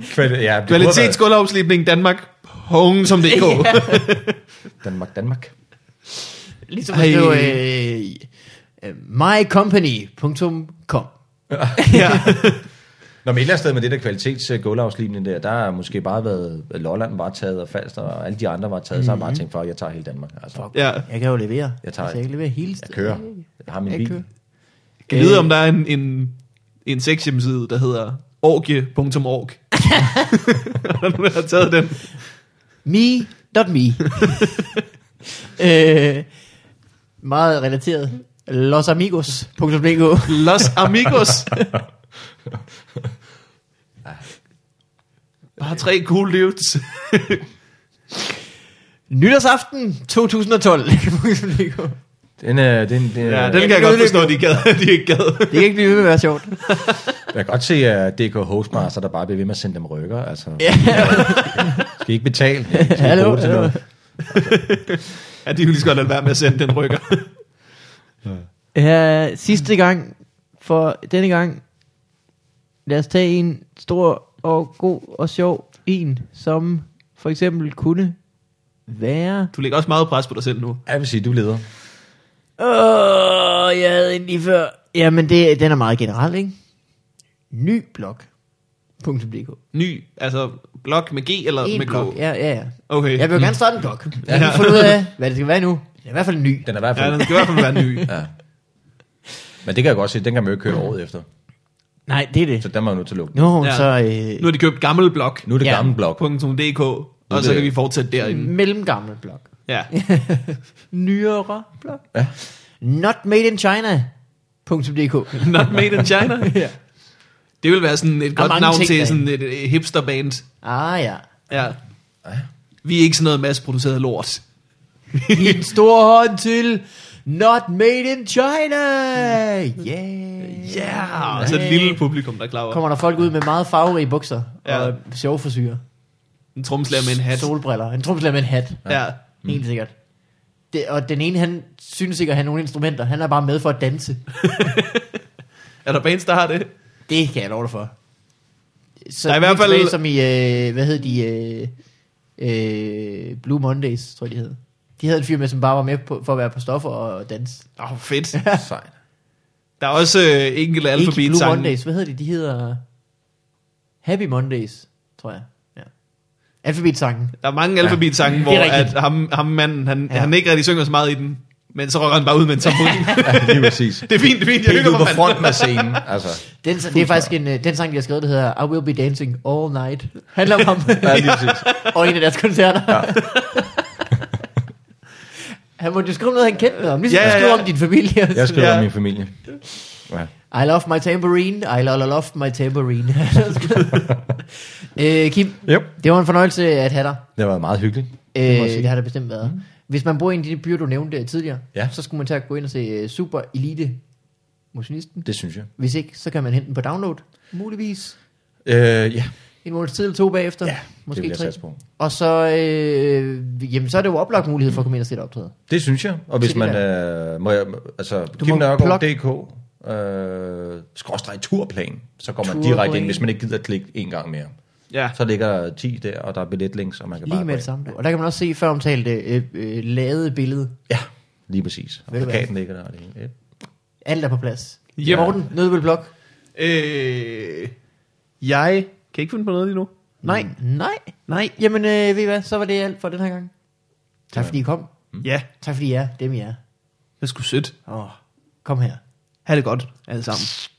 S1: kvali- ja, det burde være
S2: Kvalitetsgulvafslipning Danmark. Home som DK.
S1: Danmark, Danmark.
S3: Ligesom at
S2: Ej.
S3: skrive øh, øh, mycompany.com
S2: ja.
S1: Nå, men et eller andet sted med det der kvalitets øh, gulvafslibning der, der har måske bare været, Lolland var taget, og Falster og alle de andre var taget, mm-hmm. så har jeg bare tænkt, fuck, jeg tager hele Danmark. Altså, fuck.
S2: Mhm. ja.
S3: Jeg kan jo levere.
S1: Jeg tager
S3: altså, jeg kan levere hele
S1: Jeg kører. Jeg har min
S3: Jeg kører.
S1: bil.
S2: Kan vide, om der er en, en, en sexhjemmeside, der hedder orgie.org. Er der nogen, der har taget den?
S3: Me, not me. øh, meget relateret. Losamigos.dk
S2: Los amigos. Bare tre cool dudes.
S3: Nytårsaften 2012. .dk.
S1: Den, øh, den, den,
S2: Ja,
S1: ja,
S2: den
S1: den.
S2: kan jeg godt forstå, de gad. De ikke gad.
S3: det kan ikke blive ved med at være sjovt.
S1: Jeg kan godt se, at DK Hostmaster, der bare bliver ved med at sende dem rykker. Altså, ja. skal I ikke betale? Skal I ikke
S3: Hallo,
S1: bruge det til
S3: hallo.
S1: noget?
S2: Ja, de kunne lige så godt lade være med at sende den rykker.
S3: Ja, sidste gang for denne gang. Lad os tage en stor og god og sjov en, som for eksempel kunne være...
S2: Du lægger også meget pres på dig selv nu.
S1: Jeg vil sige, du leder.
S3: Åh, oh, jeg havde en lige før. Jamen, det, den er meget generel, ikke? Ny blog. .dk.
S2: Ny, altså blog med G eller
S3: En
S2: med K?
S3: blog, ja, ja, ja.
S2: Okay.
S3: Jeg vil jo gerne starte en blog. Jeg har fundet ud af, hvad det skal være nu. Det er i hvert fald en ny.
S1: Den er i hvert
S2: Ja,
S1: fald...
S2: den skal i hvert fald være ny.
S1: Ja. Men det kan jeg godt se, den kan man jo ikke køre året efter.
S3: Nej, det er det.
S1: Så den var jo nødt til at lukke.
S3: Nå,
S2: Ja.
S3: ja. så øh,
S2: Nu har de købt gammelblog.
S1: Nu er det
S3: Ja.
S1: ja. gamle blok.
S2: .dk, og så
S1: det-
S2: kan vi fortsætte
S3: Mm.
S2: derinde.
S3: mellemgammel blog.
S2: Ja.
S3: Nyere blog.
S1: Ja.
S3: Not made in China. .dk.
S2: Not made in China. ja. Det vil være sådan et godt
S3: mange
S2: navn
S3: ting
S2: til
S3: derinde.
S2: sådan et, et hipsterband.
S3: Ah ja.
S2: Ja. Vi er ikke sådan noget masseproduceret lort.
S3: Giv en stor hånd til Not made in China. Yeah.
S2: Ja, og så et lille publikum, der klarer
S3: Kommer der folk ud med meget farverige bukser
S2: Ja.
S3: ja. og sjove forsyre.
S2: en tromslærer med en hat.
S3: Solbriller. En tromslærer med en hat.
S2: Ja.
S3: Helt sikkert. Det, og den ene, han synes ikke at have nogle instrumenter. Han er bare med for at danse.
S2: Er der bands, der har det?
S3: Det kan jeg love dig for. Så
S2: Der er i hvert fald-
S3: tilbage Som i, øh, hvad hed de? Øh, øh, Blue Mondays, tror jeg, de hed. De havde en fyr med, som bare var med på, for at være på stoffer og danse.
S2: Åh, oh, fedt.
S1: Sejt.
S2: Der er også øh, enkelte
S3: Ikke
S2: alfabet
S3: Blue Mondays, hvad hedder de? De hedder Happy Mondays, tror jeg. Ja. Alfabet-sangen.
S2: Der er mange alfabetsange, ja. hvor
S3: Det er rigtigt.
S2: at ham, ham manden, han, ja.
S3: Ja.
S2: han ikke rigtig synger så meget i den. Men så rocker han bare ud med en tamburin.
S1: Ja, lige præcis.
S2: det er fint, det er fint, jeg
S1: Helt
S2: hygger
S1: ude
S2: mig.
S1: på
S2: mand.
S1: fronten af scenen. Altså,
S3: Den, det er faktisk en, øh, den sang, de har skrevet, der hedder I Will Be Dancing All Night. Handler om ham.
S1: ja, lige præcis.
S3: og en af deres koncerter. Ja. han måtte jo skrive om noget, han kendte noget om. Ligesom
S2: Ja,
S3: ja,
S2: ja,
S3: ja,
S2: ja.
S3: skrive om din familie.
S1: Jeg skriver
S2: Ja.
S1: ja. om min familie. Ja.
S3: I love my tambourine, I lo- lo- love my tambourine. øh, Kim,
S1: Jo.
S3: det var en fornøjelse at have dig.
S1: Det har været meget hyggeligt.
S3: Øh, det har det bestemt været. Mm. Hvis man bor i en af de byer, du nævnte øh, tidligere,
S1: Ja.
S3: ja. så skulle man tage at gå ind og se øh, Super Elite Motionisten.
S1: Det synes jeg.
S3: Hvis ikke, så kan man hente den på download. Muligvis
S1: Øh, ja.
S3: en måneds tid eller to bagefter.
S1: Ja,
S3: Ja,
S1: det
S3: måske
S1: vil jeg
S3: tre.
S1: satse på.
S3: Og så, øh, jamen, så er det jo oplagt mulighed for at komme ind og se et optræde.
S1: Det synes jeg. Og hvis
S3: Til
S1: man...
S3: det
S1: Øh, må jeg, altså,
S3: Du
S1: Kim
S3: må
S1: Nørgaard.dk øh, skråstreg turplan, så går man
S3: Turplan.
S1: direkte ind, hvis man ikke gider at klikke en gang mere.
S2: Ja.
S1: Så ligger 10 der, og der er billetlinks, og man kan
S3: Lige
S1: bare gå
S3: med det
S1: ind.
S3: samme. du. Og der kan man også se før omtalte øh, øh, lavet billede.
S1: Ja, lige præcis. Og
S3: Ved du hvad?
S1: plakaten ligger der. og det hele. Ja.
S3: Alt er på plads.
S2: Ja.
S3: Ja. Morten, Nødebøl Blok.
S2: Øh, jeg kan ikke finde på noget lige nu.
S3: Nej, nej, nej. Jamen, øh, ved I hvad, så var det alt for den her gang. Tak fordi I kom.
S2: Ja,
S3: Tak fordi I er dem, I er.
S2: det er sgu sødt.
S3: Åh, kom her.
S2: Ha' det godt, alle sammen.